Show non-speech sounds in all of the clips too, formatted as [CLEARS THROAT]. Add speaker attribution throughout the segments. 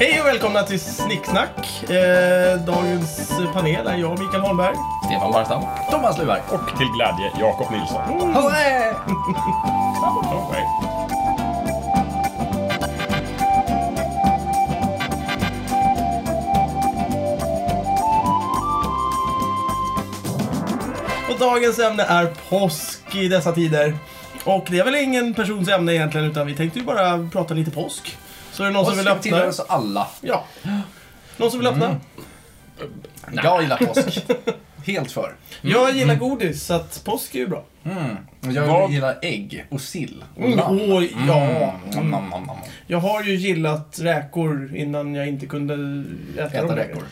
Speaker 1: Hej och välkomna till Snicksnack. Eh, dagens panel är jag, Mikael Holmberg.
Speaker 2: Stefan Barstam.
Speaker 3: Thomas Luberg.
Speaker 4: Och till glädje, Jakob Nilsson. Oh, hey.
Speaker 1: Och dagens ämne är påsk i dessa tider. Och det är väl ingen persons ämne egentligen, utan vi tänkte ju bara prata lite påsk. Så är det någon som vill
Speaker 3: Påsken tillhör
Speaker 1: öppna?
Speaker 3: oss alla.
Speaker 1: Ja. Någon som vill öppna?
Speaker 3: Jag gillar påsk. Helt för.
Speaker 1: Jag gillar godis, så att påsk är ju bra.
Speaker 3: Och Jag
Speaker 4: Vad-
Speaker 3: gillar ägg och sill. Och
Speaker 1: Mm.
Speaker 3: lamm.
Speaker 1: Åh, ja.
Speaker 3: Mm, nom, nom, nom, nom.
Speaker 1: Jag har ju gillat räkor innan jag inte kunde äta, dem
Speaker 3: Äta
Speaker 1: längre.
Speaker 3: räkor.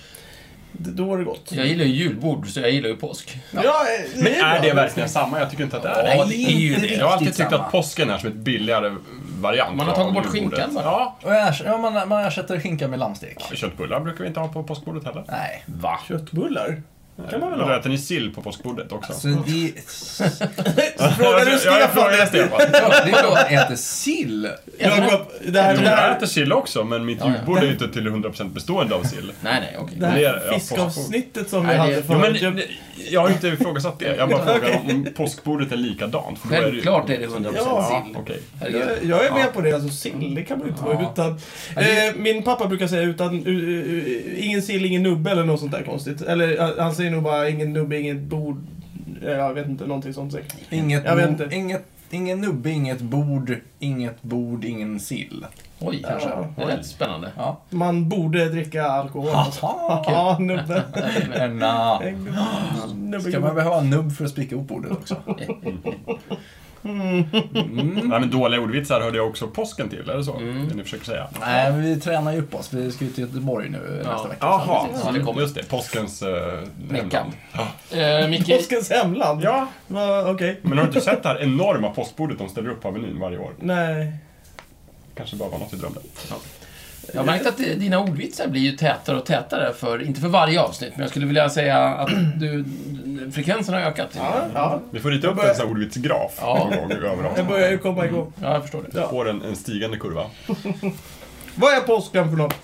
Speaker 1: D- Då var det gott.
Speaker 2: Jag gillar ju julbord, så jag gillar ju påsk.
Speaker 1: Ja, det
Speaker 4: Men är
Speaker 1: bra.
Speaker 4: det verkligen samma? Jag tycker inte att det är
Speaker 2: Ja,
Speaker 4: det.
Speaker 2: det är ju
Speaker 3: inte
Speaker 2: det.
Speaker 4: Jag har alltid
Speaker 3: riktigt
Speaker 4: tyckt
Speaker 3: samma.
Speaker 4: att påsken är som ett billigare variant.
Speaker 2: Man har
Speaker 4: av
Speaker 2: tagit bort
Speaker 4: julbordet.
Speaker 2: skinkan bara.
Speaker 4: Ja.
Speaker 3: Och jag ers- ja, man, man ersätter skinka med lammstek.
Speaker 4: Köttbullar brukar vi inte ha på påskbordet heller.
Speaker 3: Nej.
Speaker 4: Va?
Speaker 1: Köttbullar? kan man väl
Speaker 4: Då
Speaker 1: ha?
Speaker 4: äter ni sill på påskbordet också?
Speaker 3: Så det...
Speaker 1: Frågar du
Speaker 4: Jag- jag
Speaker 1: Stefan
Speaker 4: frågar
Speaker 1: efter?
Speaker 4: Stefan.
Speaker 3: Det är då man äter sill.
Speaker 1: Jakob, det här, det
Speaker 4: Jag
Speaker 1: här,
Speaker 4: äter sill också, men mitt
Speaker 2: ja.
Speaker 4: julbord är ju inte till 100% bestående av sill.
Speaker 2: Nej, nej, okej.
Speaker 1: det
Speaker 4: Det är-
Speaker 1: här
Speaker 4: ja,
Speaker 1: fiskavsnittet som vi
Speaker 2: Nej, det-
Speaker 1: hade
Speaker 2: Jo,
Speaker 4: Jo, men,
Speaker 1: förut. jag-
Speaker 4: jag har inte ifrågasatt det. Jag bara frågar om påskbordet är likadant. för då är det ju-
Speaker 2: Självklart är det 100%
Speaker 1: Ja.
Speaker 2: sill.
Speaker 4: Okej.
Speaker 2: Herregud.
Speaker 1: Jag, jag är med på det, alltså sill, det kan man ju inte vara
Speaker 3: Ja.
Speaker 1: utan.
Speaker 3: Ja, det-
Speaker 1: Eh, min pappa brukar säga utan, u, u, u, ingen sill, ingen nubbe eller något sånt där konstigt. Eller eh, han säger nog bara ingen nubbe, inget bord. Eh, Jag vet inte, någonting sånt säkert.
Speaker 3: Inget,
Speaker 1: Jag vet
Speaker 3: bo-
Speaker 1: inte.
Speaker 3: inget, ingen nubbe, inget bord, inget bord, ingen sill.
Speaker 2: Oj, kanske.
Speaker 1: Ja,
Speaker 2: Det är rätt spännande.
Speaker 3: Ja.
Speaker 1: Man borde dricka alkohol.
Speaker 3: [LAUGHS]
Speaker 1: alltså.
Speaker 3: Aha,
Speaker 1: Ja, nubbe.
Speaker 3: Erna.
Speaker 1: Eh, Nubbe.
Speaker 3: Ska man behöva nubb för att spika ihop ordet också?
Speaker 4: Nej, men dåliga ordvitsar hörde jag också påsken till, är det så?
Speaker 2: Mm.
Speaker 4: Det ni försöker säga?
Speaker 3: Nej, men vi tränar ju upp oss. Vi ska ju till Göteborg nu
Speaker 2: Ja.
Speaker 3: nästa vecka.
Speaker 4: Jaha,
Speaker 2: Ja, det kommer.
Speaker 4: just det. Påskens... eh,
Speaker 2: Meckan.
Speaker 4: hemland.
Speaker 2: Eh, Micke,
Speaker 1: Påskens hemland?
Speaker 4: Ja,
Speaker 1: Va, Okej.
Speaker 4: men har du inte sett det här enorma påskbordet de ställer upp på Avenyn varje år?
Speaker 1: Nej.
Speaker 4: Kanske bara var något jag drömde.
Speaker 2: jag har märkt att eh, dina ordvitsar blir ju tätare och tätare, för, inte för varje avsnitt, men jag skulle vilja säga att du, frekvensen har ökat.
Speaker 1: Ja, ja.
Speaker 4: Vi får rita upp en sån här ordvitsgraf
Speaker 2: Ja.
Speaker 4: någon gång överallt.
Speaker 1: Jag börjar ju komma igång.
Speaker 2: Ja, jag förstår det.
Speaker 1: Ja.
Speaker 4: Får en, en stigande kurva.
Speaker 1: Vad är påsken för något?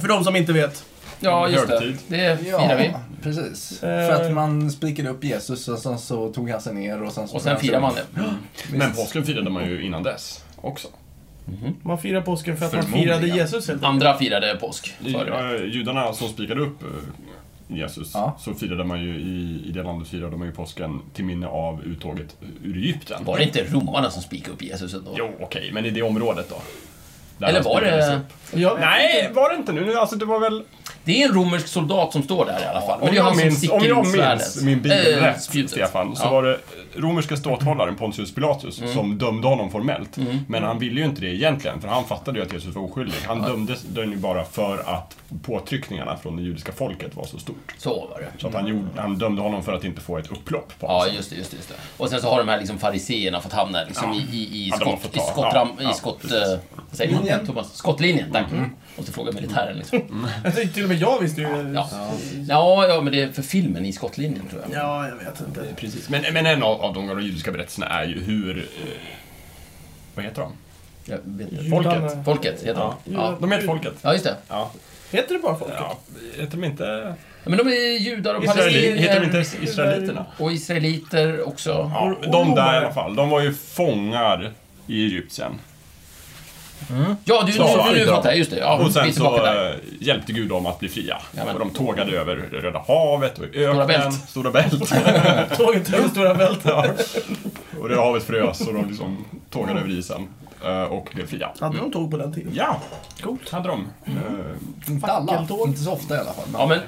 Speaker 1: För de som inte vet.
Speaker 2: Ja, just det.
Speaker 4: Högtid.
Speaker 2: Det firar
Speaker 3: Ja,
Speaker 2: vi.
Speaker 3: precis.
Speaker 1: Eh.
Speaker 3: För att man spikade upp Jesus och sen så tog han sig ner och sen så...
Speaker 2: Och sen firar man det.
Speaker 3: Visst.
Speaker 4: Men påsken firade man ju innan dess också.
Speaker 1: Man firar påsken för att man
Speaker 4: Förmodligen.
Speaker 1: firade Jesus helt enkelt.
Speaker 2: Andra firade påsk.
Speaker 4: I,
Speaker 2: Före.
Speaker 4: eh, judarna som spikade upp eh, Jesus,
Speaker 3: Ja.
Speaker 4: så firade man ju i, i det landet firade man ju påsken till minne av uttåget ur Egypten.
Speaker 2: Var det inte romarna som spikade upp Jesus ändå?
Speaker 4: Jo, okej, men i det området då? Där
Speaker 2: Eller
Speaker 4: han
Speaker 2: var
Speaker 4: spikades
Speaker 2: det...
Speaker 4: upp.
Speaker 1: Jag vet
Speaker 4: Nej,
Speaker 1: inte.
Speaker 4: var det inte nu? Alltså det var väl...
Speaker 2: Det är en romersk soldat som står där i alla fall. Men
Speaker 4: Om
Speaker 2: det är han
Speaker 4: jag
Speaker 2: som
Speaker 4: minns,
Speaker 2: sticker
Speaker 4: om jag
Speaker 2: in svärdet.
Speaker 4: minns min bibel
Speaker 2: Eh,
Speaker 4: rätt,
Speaker 2: spjutet.
Speaker 4: Stefan, så
Speaker 2: Ja. Mm.
Speaker 4: var det romerska ståthållaren Pontius Pilatus som dömde honom formellt. Men han ville ju inte det egentligen, för han fattade ju att Jesus var oskyldig. Han dömdes den ju bara för att påtryckningarna från det judiska folket var så stort.
Speaker 2: Så var det.
Speaker 4: Så att han, gjorde, han dömde honom för att inte få ett upplopp på
Speaker 2: Mm. Ja,
Speaker 4: honom.
Speaker 2: just det, just det, just det. Och sen så har de här liksom fariseerna fått hamna liksom i, i, i
Speaker 4: Ja, de har
Speaker 2: skott...
Speaker 4: fått
Speaker 2: I
Speaker 4: ta.
Speaker 2: skottram...
Speaker 4: Ja, Mm. ja,
Speaker 2: I skott...
Speaker 4: precis.
Speaker 2: eh, vad säger man?
Speaker 3: Linjen.
Speaker 2: Thomas? Skottlinjen, tack. Måste fråga militären
Speaker 4: Mm.
Speaker 2: liksom.
Speaker 1: Alltså, till och med jag visste ju.
Speaker 2: Ja. ja, ja, men det är för filmen i skottlinjen tror jag.
Speaker 1: Ja, jag vet inte.
Speaker 4: Precis. Men, men en av, av de gamla judiska berättelserna är ju hur... Eh, vad heter de?
Speaker 2: jag vet inte.
Speaker 4: Folket.
Speaker 1: Judarna-
Speaker 2: Folket heter de.
Speaker 4: Ja.
Speaker 2: Ja.
Speaker 4: De heter Folket.
Speaker 2: ja, just det.
Speaker 4: Ja.
Speaker 1: Heter det bara folket?
Speaker 4: ja. Heter de inte...
Speaker 2: Men de är judar och
Speaker 4: Israeli, heter de
Speaker 2: palestinier.
Speaker 4: inte Israeliterna?
Speaker 2: Och israeliter också.
Speaker 4: Ja,
Speaker 1: Och- och
Speaker 4: de där i
Speaker 1: romare.
Speaker 4: alla fall. De var ju fångar i Egypten.
Speaker 2: Ja, du,
Speaker 4: Så,
Speaker 2: nu, nu, nu
Speaker 4: idag.
Speaker 2: fattar jag. Just det. Ja,
Speaker 4: Och
Speaker 2: vi
Speaker 4: sen
Speaker 2: är tillbaka
Speaker 4: så
Speaker 2: där.
Speaker 4: eh, hjälpte Gud dem att bli fria.
Speaker 2: Jajamän.
Speaker 4: Och de tågade över Röda havet och öknen.
Speaker 2: Bält.
Speaker 4: Stora Bält.
Speaker 1: [LAUGHS]
Speaker 4: [LAUGHS]
Speaker 1: Tåget över Stora Bält.
Speaker 4: Ja. och Röda havet frös och de liksom tågade över isen eh, och blev fria.
Speaker 1: Hade de tåg på den tiden?
Speaker 4: Ja, coolt hade de.
Speaker 2: Mm.
Speaker 4: Eh,
Speaker 3: Inte alla.
Speaker 1: Fackeltåg.
Speaker 3: Inte så ofta i alla fall. men-
Speaker 2: Ja, men eh,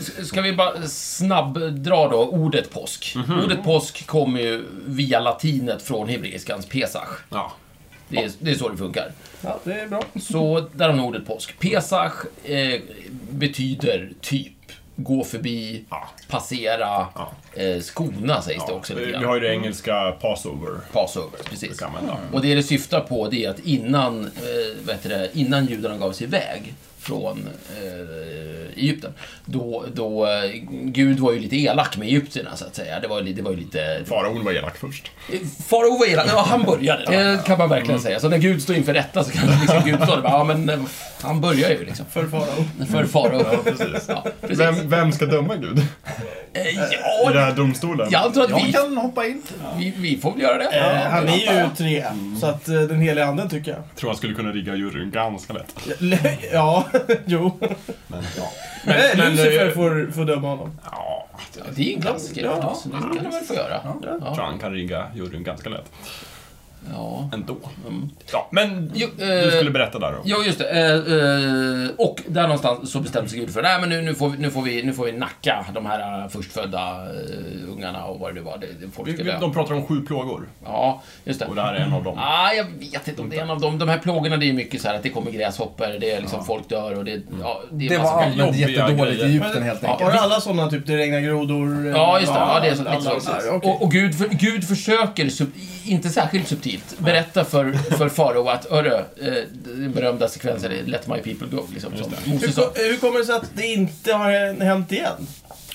Speaker 2: s- ska vi bara snabbdra då ordet påsk?
Speaker 4: Mhm.
Speaker 2: Ordet påsk kommer ju via latinet från hebreiskans pesach.
Speaker 4: Ja.
Speaker 2: Det är, det är så det funkar.
Speaker 1: Ja, det är bra.
Speaker 2: Så där har ni ordet påsk. Pesach eh, betyder typ gå förbi,
Speaker 4: Ja.
Speaker 2: passera,
Speaker 4: Ja.
Speaker 2: eh, skona sägs det
Speaker 4: ja.
Speaker 2: också
Speaker 4: Vi
Speaker 2: lite
Speaker 4: vi
Speaker 2: grann.
Speaker 4: har ju det engelska Passover.
Speaker 2: Passover, precis.
Speaker 4: brukar använda.
Speaker 2: Och det det syftar på det är att innan, eh, vad heter det, innan judarna gav sig iväg från eh, Egypten. Då, då, eh, Gud var ju lite elak med egyptierna så att säga. Det var, ju- det var ju lite...
Speaker 4: Faraon var elak först.
Speaker 2: Farao var elak, ja han började.
Speaker 1: [LAUGHS]
Speaker 2: Det kan man verkligen
Speaker 1: Mm.
Speaker 2: säga. Så när Gud står inför rätta så kanske liksom Gud står där och bara, ja men eh, han börjar ju liksom.
Speaker 1: För farao.
Speaker 2: För Farao.
Speaker 4: Ja, precis.
Speaker 2: Ja, precis.
Speaker 4: Vem, vem ska döma Gud?
Speaker 2: Eh,
Speaker 4: I den
Speaker 2: Ja,
Speaker 4: här domstolen?
Speaker 2: jag tror att
Speaker 3: Jag
Speaker 2: vi,
Speaker 3: kan hoppa in.
Speaker 2: vi, vi får väl göra det.
Speaker 1: Eh, Han är ju tre, Mm. så att eh, den heliga anden tycker jag.
Speaker 4: Jag tror han skulle kunna rigga juryn ganska lätt.
Speaker 1: Ja, [LAUGHS] jo.
Speaker 4: Men, ja.
Speaker 1: Men,
Speaker 2: men,
Speaker 1: Lucifer
Speaker 2: eh,
Speaker 1: får, får döma honom.
Speaker 4: ja jag
Speaker 2: Det är en klassiker
Speaker 1: Ja.
Speaker 2: förstås. Det kan de väl få göra.
Speaker 4: tror
Speaker 2: Ja.
Speaker 4: han kan rigga juryn ganska lätt.
Speaker 2: ja.
Speaker 4: Ändå. Ja, men
Speaker 2: Jo,
Speaker 4: du
Speaker 2: eh,
Speaker 4: skulle berätta där då.
Speaker 2: Ja, just det. Eh, eh, och där någonstans så bestämde sig Gud för nej men nu, nu, får vi, nu, får vi, nu får vi nacka de här eh, förstfödda eh, ungarna och vad det nu var. Det, det, folk
Speaker 4: Vi-
Speaker 2: ska
Speaker 4: vi-
Speaker 2: dö.
Speaker 4: De pratar om sju plågor.
Speaker 2: Ja, just det.
Speaker 4: Och det här är en av dem.
Speaker 2: Ah, jag vet inte om det är en av dem. De här plågorna, det är mycket så här att det kommer gräshoppor, det är liksom folk dör och det, ja, det är
Speaker 3: Det
Speaker 2: massa
Speaker 3: var allmänt
Speaker 4: jobbiga
Speaker 3: jättedåligt i
Speaker 4: grejer.
Speaker 3: Egypten helt
Speaker 1: Ja,
Speaker 3: enkelt.
Speaker 1: Har alla sådana typ, det regnar grodor? eh,
Speaker 2: Ja, just det. Ja, det är så,
Speaker 1: alla-
Speaker 2: lite så.
Speaker 1: alla-
Speaker 2: Precis.
Speaker 1: okej.
Speaker 2: Och, och Gud, för, Gud försöker, sub, inte särskilt subtilt, berätta för, för farao att hörru, eh, den berömda sekvensen är Let My People Go, liksom. Som
Speaker 1: Hur,
Speaker 2: Moses sa.
Speaker 1: ko- hur kommer det sig att det inte har hänt igen?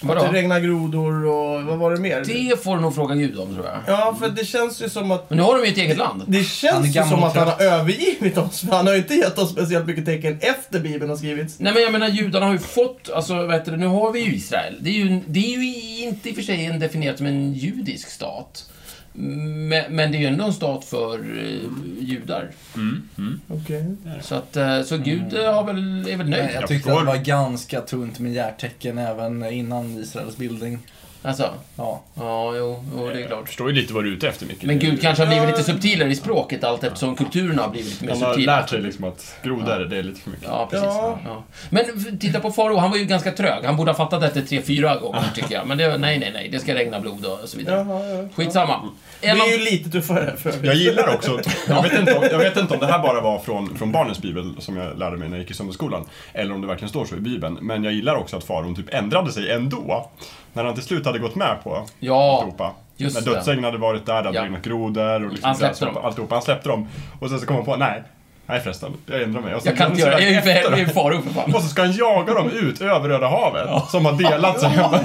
Speaker 2: Vadå?
Speaker 1: Att det regnar grodor och vad var det mer?
Speaker 2: Det får du nog fråga Gud om, tror jag.
Speaker 1: Ja, för det känns ju som att
Speaker 2: Men nu har de ju ett eget land.
Speaker 1: det
Speaker 3: Han är
Speaker 1: känns ju
Speaker 3: gammal
Speaker 1: som
Speaker 3: och
Speaker 1: att han
Speaker 3: trött.
Speaker 1: har övergivit oss, för han har ju inte gett oss speciellt mycket tecken efter Bibeln har skrivits.
Speaker 2: Nej men jag menar judarna har ju fått, alltså vad heter det, nu har vi ju Israel. Det är ju, det är ju inte i och för sig en, definierat som en judisk stat. Men, men det är ju ändå en stat för eh, judar.
Speaker 4: Mm.
Speaker 1: Okej.
Speaker 2: Så att, eh, så Gud eh, har väl, är väl nöjd.
Speaker 3: Nej, jag
Speaker 4: Jag
Speaker 3: tyckte
Speaker 4: förstår.
Speaker 3: att det var ganska tunt med järtecken även innan Israels bildning.
Speaker 2: Alltså,
Speaker 3: Ja.
Speaker 2: ja jo, jo, det är
Speaker 4: Jag
Speaker 2: klart.
Speaker 4: förstår ju lite vad du är ute efter Micke.
Speaker 2: Men Gud kanske har blivit lite subtilare i språket allt eftersom kulturen har blivit lite mer
Speaker 4: Han har
Speaker 2: subtil.
Speaker 4: lärt sig liksom att grodor, det är lite för mycket.
Speaker 2: Ja, precis.
Speaker 1: Ja.
Speaker 2: Ja. Men f- titta på Faro, han var ju ganska trög. Han borde ha fattat efter tre, fyra gånger, tycker jag. Men det, nej, nej, nej, det ska regna blod och så vidare.
Speaker 1: Jaha, ja.
Speaker 2: Skitsamma.
Speaker 1: Vi
Speaker 2: En av...
Speaker 1: är ju lite tuffare för övrigt.
Speaker 4: Jag gillar
Speaker 2: [LAUGHS]
Speaker 4: också, jag vet, inte om, jag vet inte om det här bara var från, från barnens bibel som jag lärde mig när jag gick i söndagsskolan, eller om det verkligen står så i bibeln. Men jag gillar också att faraon typ ändrade sig ändå. När han till slut hade gått med på
Speaker 2: Ja,
Speaker 4: alltihopa.
Speaker 2: just
Speaker 4: när dödsängen hade varit där, det hade
Speaker 2: Ja.
Speaker 4: regnat grodor och liksom
Speaker 2: Han släppte
Speaker 4: gräshoppor,
Speaker 2: dem.
Speaker 4: alltihopa. Han släppte dem. Och sen så kom han på, nej, nej förresten, jag ändrar mig. Och sen
Speaker 2: jag kan inte göra det. Jag är ju för
Speaker 4: efter
Speaker 2: helvete
Speaker 4: dem.
Speaker 2: i Faro, för fan.
Speaker 4: "Äh, Och så ska han jaga dem ut över Röda havet, som har delat sig. Jag bara,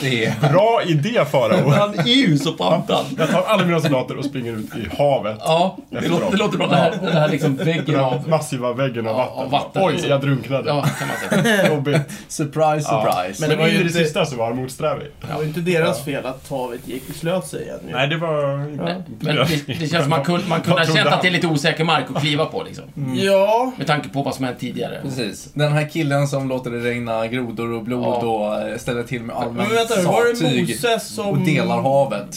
Speaker 3: Det.
Speaker 4: Bra idé farao!
Speaker 2: Han är ju så pantad.
Speaker 4: Jag tar alla mina soldater och springer ut i havet.
Speaker 2: Ja, det låter, det låter bra. Den här, den här liksom
Speaker 4: Den
Speaker 2: väggen
Speaker 4: här
Speaker 2: av...
Speaker 4: massiva väggen av
Speaker 2: Ja,
Speaker 4: vatten.
Speaker 2: av vatten.
Speaker 4: Oj, jag drunknade.
Speaker 2: Ja, kan man säga.
Speaker 4: Jobbigt.
Speaker 3: Surprise,
Speaker 4: Ja.
Speaker 3: surprise.
Speaker 4: Men
Speaker 1: det
Speaker 4: det
Speaker 1: var ju
Speaker 4: i det
Speaker 1: inte-
Speaker 4: sista så var han motsträvig.
Speaker 1: Det var ju inte deras fel att havet gick slöt sig igen. ju.
Speaker 4: Nej, det var...
Speaker 2: Men det, det känns som man kunde, man kunde
Speaker 4: Vad
Speaker 2: ha
Speaker 4: trodde
Speaker 2: känt att
Speaker 4: han?
Speaker 2: det är lite osäker mark att kliva på, liksom.
Speaker 1: Ja,
Speaker 2: Med tanke på vad som hänt tidigare.
Speaker 3: Precis. Den här killen som låter det regna grodor och blod
Speaker 2: Ja.
Speaker 3: och eh, ställer till med allmänt
Speaker 1: men vänta nu. Var det
Speaker 3: sattyg
Speaker 1: Moses som...
Speaker 3: och delar havet.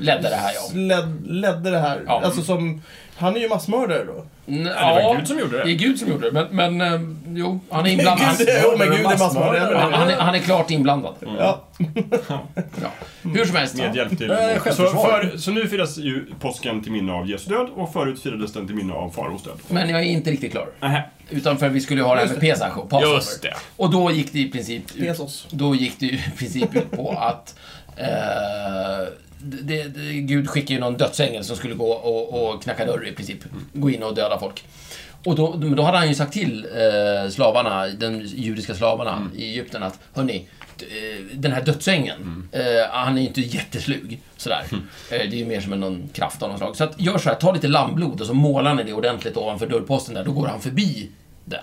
Speaker 2: Ledde det här, ja.
Speaker 1: Led, ledde det här.
Speaker 2: Ja.
Speaker 1: Alltså som... Han är ju massmördare då.
Speaker 2: N-
Speaker 4: var
Speaker 2: ja,
Speaker 4: Gud som gjorde det.
Speaker 2: Det är Gud som gjorde det, men, men eh, jo, han är inblandad. Han,
Speaker 1: [LAUGHS] Gud, oh, men gud, det är massmördare.
Speaker 2: han, han, är, han är klart inblandad.
Speaker 1: Ja.
Speaker 2: Ja. Hur som helst.
Speaker 4: Mm. Med hjälp till...
Speaker 3: Eh,
Speaker 4: så,
Speaker 3: självförsvar.
Speaker 4: för, så nu firas ju påsken till minne av Jesu död och förut firades den till minne av faraos död.
Speaker 2: Men jag är inte riktigt klar.
Speaker 4: Nähä.
Speaker 2: Utan för vi skulle ju ha det här med Pesach och Passover.
Speaker 4: Just det.
Speaker 2: Och då gick det i princip ut,
Speaker 1: Pesos.
Speaker 2: då gick det ju [LAUGHS] i princip ut på att eh, det, det, Gud skickade ju någon dödsängel som skulle gå och, och knacka dörr i princip. Gå in och döda folk. Och då, men då hade han ju sagt till eh, slavarna, den judiska slavarna i Egypten att hörni, d- eh, den här dödsängeln, eh, han är ju inte jätteslug. Sådär. Eh, det är ju mer som en någon kraft av något slag. Så att, gör så här, ta lite lammblod och så målar ni det ordentligt ovanför dörrposten där. Då går han förbi den.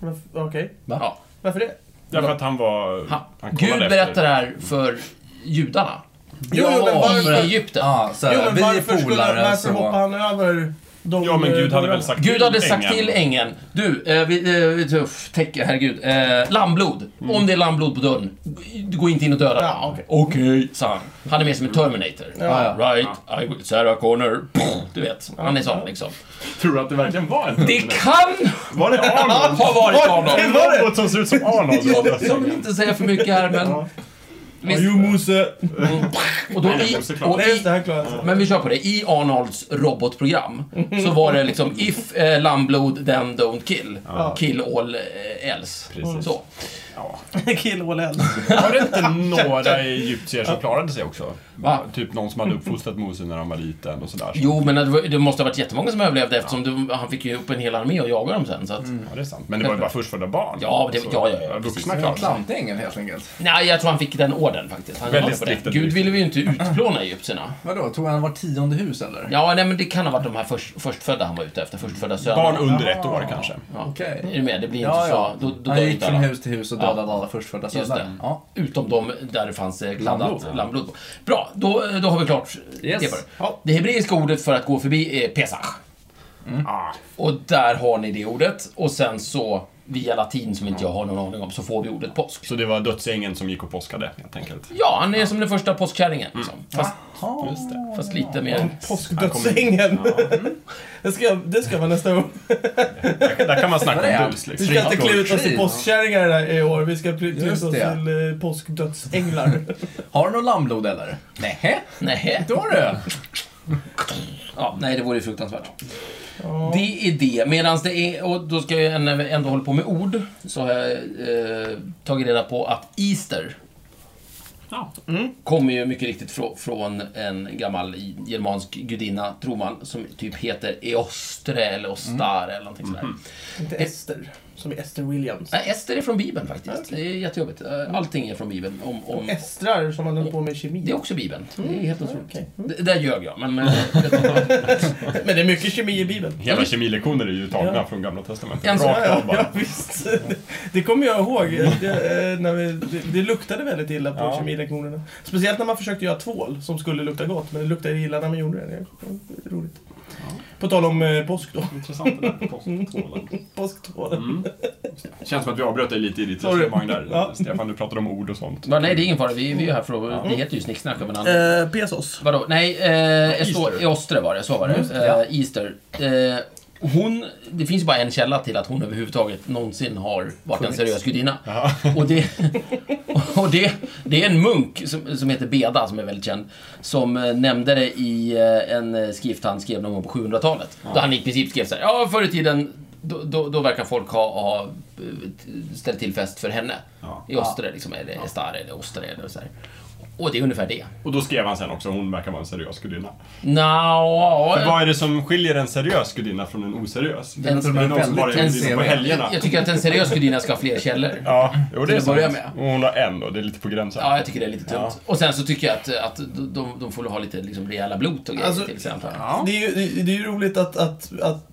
Speaker 1: Varf- Okej.
Speaker 3: Va?
Speaker 2: Ja.
Speaker 1: Varför det?
Speaker 4: Därför att han var...
Speaker 2: Ha,
Speaker 4: Han
Speaker 2: Gud
Speaker 4: kollade
Speaker 2: berättar
Speaker 4: efter.
Speaker 2: det här för judarna.
Speaker 1: Jo, jo, men varför-
Speaker 2: I Egypten.
Speaker 3: Ja, så här,
Speaker 1: Jo, men
Speaker 3: vi är
Speaker 1: varför, skulle,
Speaker 3: polare
Speaker 1: varför
Speaker 3: så...
Speaker 1: hoppar han över de...
Speaker 4: Ja, men Gud hade väl sagt
Speaker 2: Gud hade sagt
Speaker 4: ängeln.
Speaker 2: till ängeln, du, eh, vi, eh, vi- tuff, täck, herregud, eh, lammblod.
Speaker 4: Mm.
Speaker 2: Om det är lammblod på dörren, g- gå inte in och döda den.
Speaker 1: Ja, okej.
Speaker 2: sa han. Han är mer som en Terminator.
Speaker 1: Ja,
Speaker 2: Right, I will, Sarah Connor. Du vet, han är sån liksom.
Speaker 4: Tror du att det verkligen var en
Speaker 2: Det kan
Speaker 4: Var [LAUGHS] det Arnold?
Speaker 2: ha varit honom.
Speaker 1: Det var det!
Speaker 4: Något som ser [LAUGHS] ut som Arnold. som var
Speaker 2: Jag, jag vill
Speaker 4: dödsängeln.
Speaker 2: inte säga för mycket här, men... Visst.
Speaker 1: Jo, Mose!
Speaker 2: Och då
Speaker 4: Nej,
Speaker 2: i,
Speaker 4: såklart.
Speaker 2: och
Speaker 1: Nej, just
Speaker 2: i,
Speaker 1: det, han klarar sig.
Speaker 2: Men vi kör på det. I Arnolds robotprogram så var det liksom
Speaker 3: [LAUGHS]
Speaker 2: if eh, lammblod then don't kill. Kill all eh, else.
Speaker 4: Precis.
Speaker 2: Så.
Speaker 4: Ja.
Speaker 1: [LAUGHS] Kill all else.
Speaker 4: [LAUGHS] Var det inte några egyptier som klarade sig också?
Speaker 2: Va?
Speaker 4: Typ någon som hade uppfostrat Mose när han var liten och sådär.
Speaker 2: Jo, men det, var, det måste ha varit jättemånga som överlevde eftersom det, han fick ju upp en hel armé och jaga dem sen. Så att,
Speaker 3: Mm.
Speaker 4: Ja, det är sant. Men det var ju bara förstfödda barn.
Speaker 2: Ja, det-
Speaker 4: Så,
Speaker 2: ja, ja, ja, precis.
Speaker 4: Alltså, Vuxna
Speaker 3: Det var en
Speaker 4: klarar sig.
Speaker 3: klantig ängel helt enkelt.
Speaker 2: Nej, jag tror han fick den orden faktiskt. Han
Speaker 4: Väldigt
Speaker 2: var på det.
Speaker 4: strikt.
Speaker 2: Gud ville vi ju inte utplåna egyptierna.
Speaker 3: Vadå, tog han var tionde hus eller?
Speaker 2: Ja, nej, men det kan ha varit de här först, förstfödda han var ute efter. Förstfödda söner.
Speaker 4: Barn under ett år kanske.
Speaker 2: Ja.
Speaker 3: Okej.
Speaker 2: Är du med? Det blir inte
Speaker 3: Ja,
Speaker 2: så.
Speaker 3: ja.
Speaker 2: Då, då
Speaker 3: han
Speaker 2: dör
Speaker 3: gick
Speaker 2: inte
Speaker 3: från
Speaker 2: alla.
Speaker 3: hus till hus och dödade alla förstfödda
Speaker 2: Just det.
Speaker 3: söner. Ja.
Speaker 2: Utom de där det fanns eh, blandat
Speaker 3: Lammblod.
Speaker 2: lammblod. på. Bra, då, eh, då har vi klart
Speaker 3: Yes.
Speaker 2: det. för.
Speaker 1: Ja.
Speaker 2: Det hebreiska ordet för att gå förbi är pesach.
Speaker 4: Ah,
Speaker 2: Och där har ni det ordet. Och sen så, via latin som inte jag har någon aning om, så får vi ordet påsk.
Speaker 4: så det var dödsängeln som gick och påskade helt enkelt.
Speaker 2: Ja, han är som den första påskkärringen. Liksom. Fast,
Speaker 3: Ja.
Speaker 4: Just det.
Speaker 2: fast lite mer...
Speaker 1: Påskdödsängen. [LAUGHS] det, ska, det ska vara nästa år.
Speaker 4: [LAUGHS] Där, där kan man
Speaker 3: Där är
Speaker 4: snacka om
Speaker 3: han.
Speaker 4: bus
Speaker 1: Vi
Speaker 4: liksom.
Speaker 1: ska inte klä ut oss till
Speaker 3: Fridfrågor.
Speaker 1: påskkärringar där i år. Vi ska klä klä ut
Speaker 3: Just
Speaker 1: oss
Speaker 3: det.
Speaker 1: till eh, påskdödsänglar.
Speaker 3: Har du något lammblod eller? Nej.
Speaker 2: Nej.
Speaker 3: Då har du.
Speaker 2: Ja, nej, det vore ju fruktansvärt. Det är det. Medan det är, och då ska jag, när vi ändå håller på med ord, så har jag eh, tagit reda på att Easter
Speaker 4: Ja.
Speaker 1: Mm.
Speaker 2: kommer ju mycket riktigt frå, från en gammal germansk gudinna, tror man, som typ heter Eostre eller Ostare eller någonting sådär.
Speaker 1: [LAUGHS] Mm. Inte Ester, som i Ester Williams.
Speaker 2: Nej, Ester är från Bibeln faktiskt. Det är jättejobbigt. Eh,
Speaker 1: Mm.
Speaker 2: Allting är från Bibeln. Om, om,
Speaker 1: Estrar som man höll på med kemi.
Speaker 2: det är också Bibeln. Det är helt otroligt.
Speaker 1: Mm. Okej.
Speaker 2: D- Där ljög jag,
Speaker 1: [LAUGHS]
Speaker 2: men... eh,
Speaker 1: Men det är mycket kemi i Bibeln.
Speaker 4: Hela kemilektioner är ju tagna från Gamla Testamentet.
Speaker 2: En sån-
Speaker 4: Rakt
Speaker 1: Ja,
Speaker 4: av
Speaker 1: ja,
Speaker 4: bara.
Speaker 1: visst. Det kommer jag ihåg. Det, eh, när vi, det, det luktade väldigt illa på
Speaker 4: Ja.
Speaker 1: kemilektionerna. Speciellt när man försökte göra tvål som skulle lukta gott, men det luktade illa när man gjorde det. det är roligt. På tal om eh, påsk då. [LAUGHS]
Speaker 4: Intressant det där påsktvålen.
Speaker 1: Påsktålen.
Speaker 4: Mm. Känns som att vi avbröt dig lite i ditt
Speaker 1: Sorry.
Speaker 4: resonemang där.
Speaker 1: Ja.
Speaker 4: Stefan, du pratade om ord och sånt.
Speaker 2: Va, nej, det är ingen fara. Vi, vi är här för att... Vi heter ju Snicksnack av en annan.
Speaker 1: Eh, Pesos.
Speaker 2: Vadå? Nej, eh,
Speaker 4: Easter.
Speaker 2: Easter. Eostre var det. Så var det. Eh, Easter. Eh, hon, det finns ju bara en källa till att hon överhuvudtaget någonsin har varit en seriös gudinna. Och, det, [LAUGHS] och det, det är en munk som, som heter Beda, som är väldigt känd, som eh, nämnde det i eh, en eh, skrift han skrev någon gång på 700-talet. Då han i princip skrev så här, ja, förr i tiden då, då, då verkar folk ha, ha eh, t- ställt till fest för henne.
Speaker 4: Ja.
Speaker 2: I Ostre, liksom, eller Estare, eller Ostre, eller så här. Och det är ungefär det.
Speaker 4: Och då skrev han sen också, hon verkar vara en seriös gudinna.
Speaker 2: Nja,
Speaker 4: Vad är det som skiljer en seriös gudinna från en oseriös? Det
Speaker 2: En-
Speaker 4: är någon som bara är
Speaker 2: en-
Speaker 4: gudinna på helgerna.
Speaker 2: Jag tycker att en seriös gudinna ska ha fler källor. Ja.
Speaker 4: Ja, jo, det
Speaker 2: Till
Speaker 4: är
Speaker 2: att börja
Speaker 4: sant.
Speaker 2: med.
Speaker 4: Och hon har en då, det är lite på gränsen.
Speaker 2: jag tycker det är lite tunt.
Speaker 4: Ja.
Speaker 2: Och sen så tycker jag att, att de, de får väl ha lite liksom, rejäla blot och grejer
Speaker 1: Alltså,
Speaker 2: till exempel.
Speaker 1: Det är ju, det, det är ju roligt att, att, att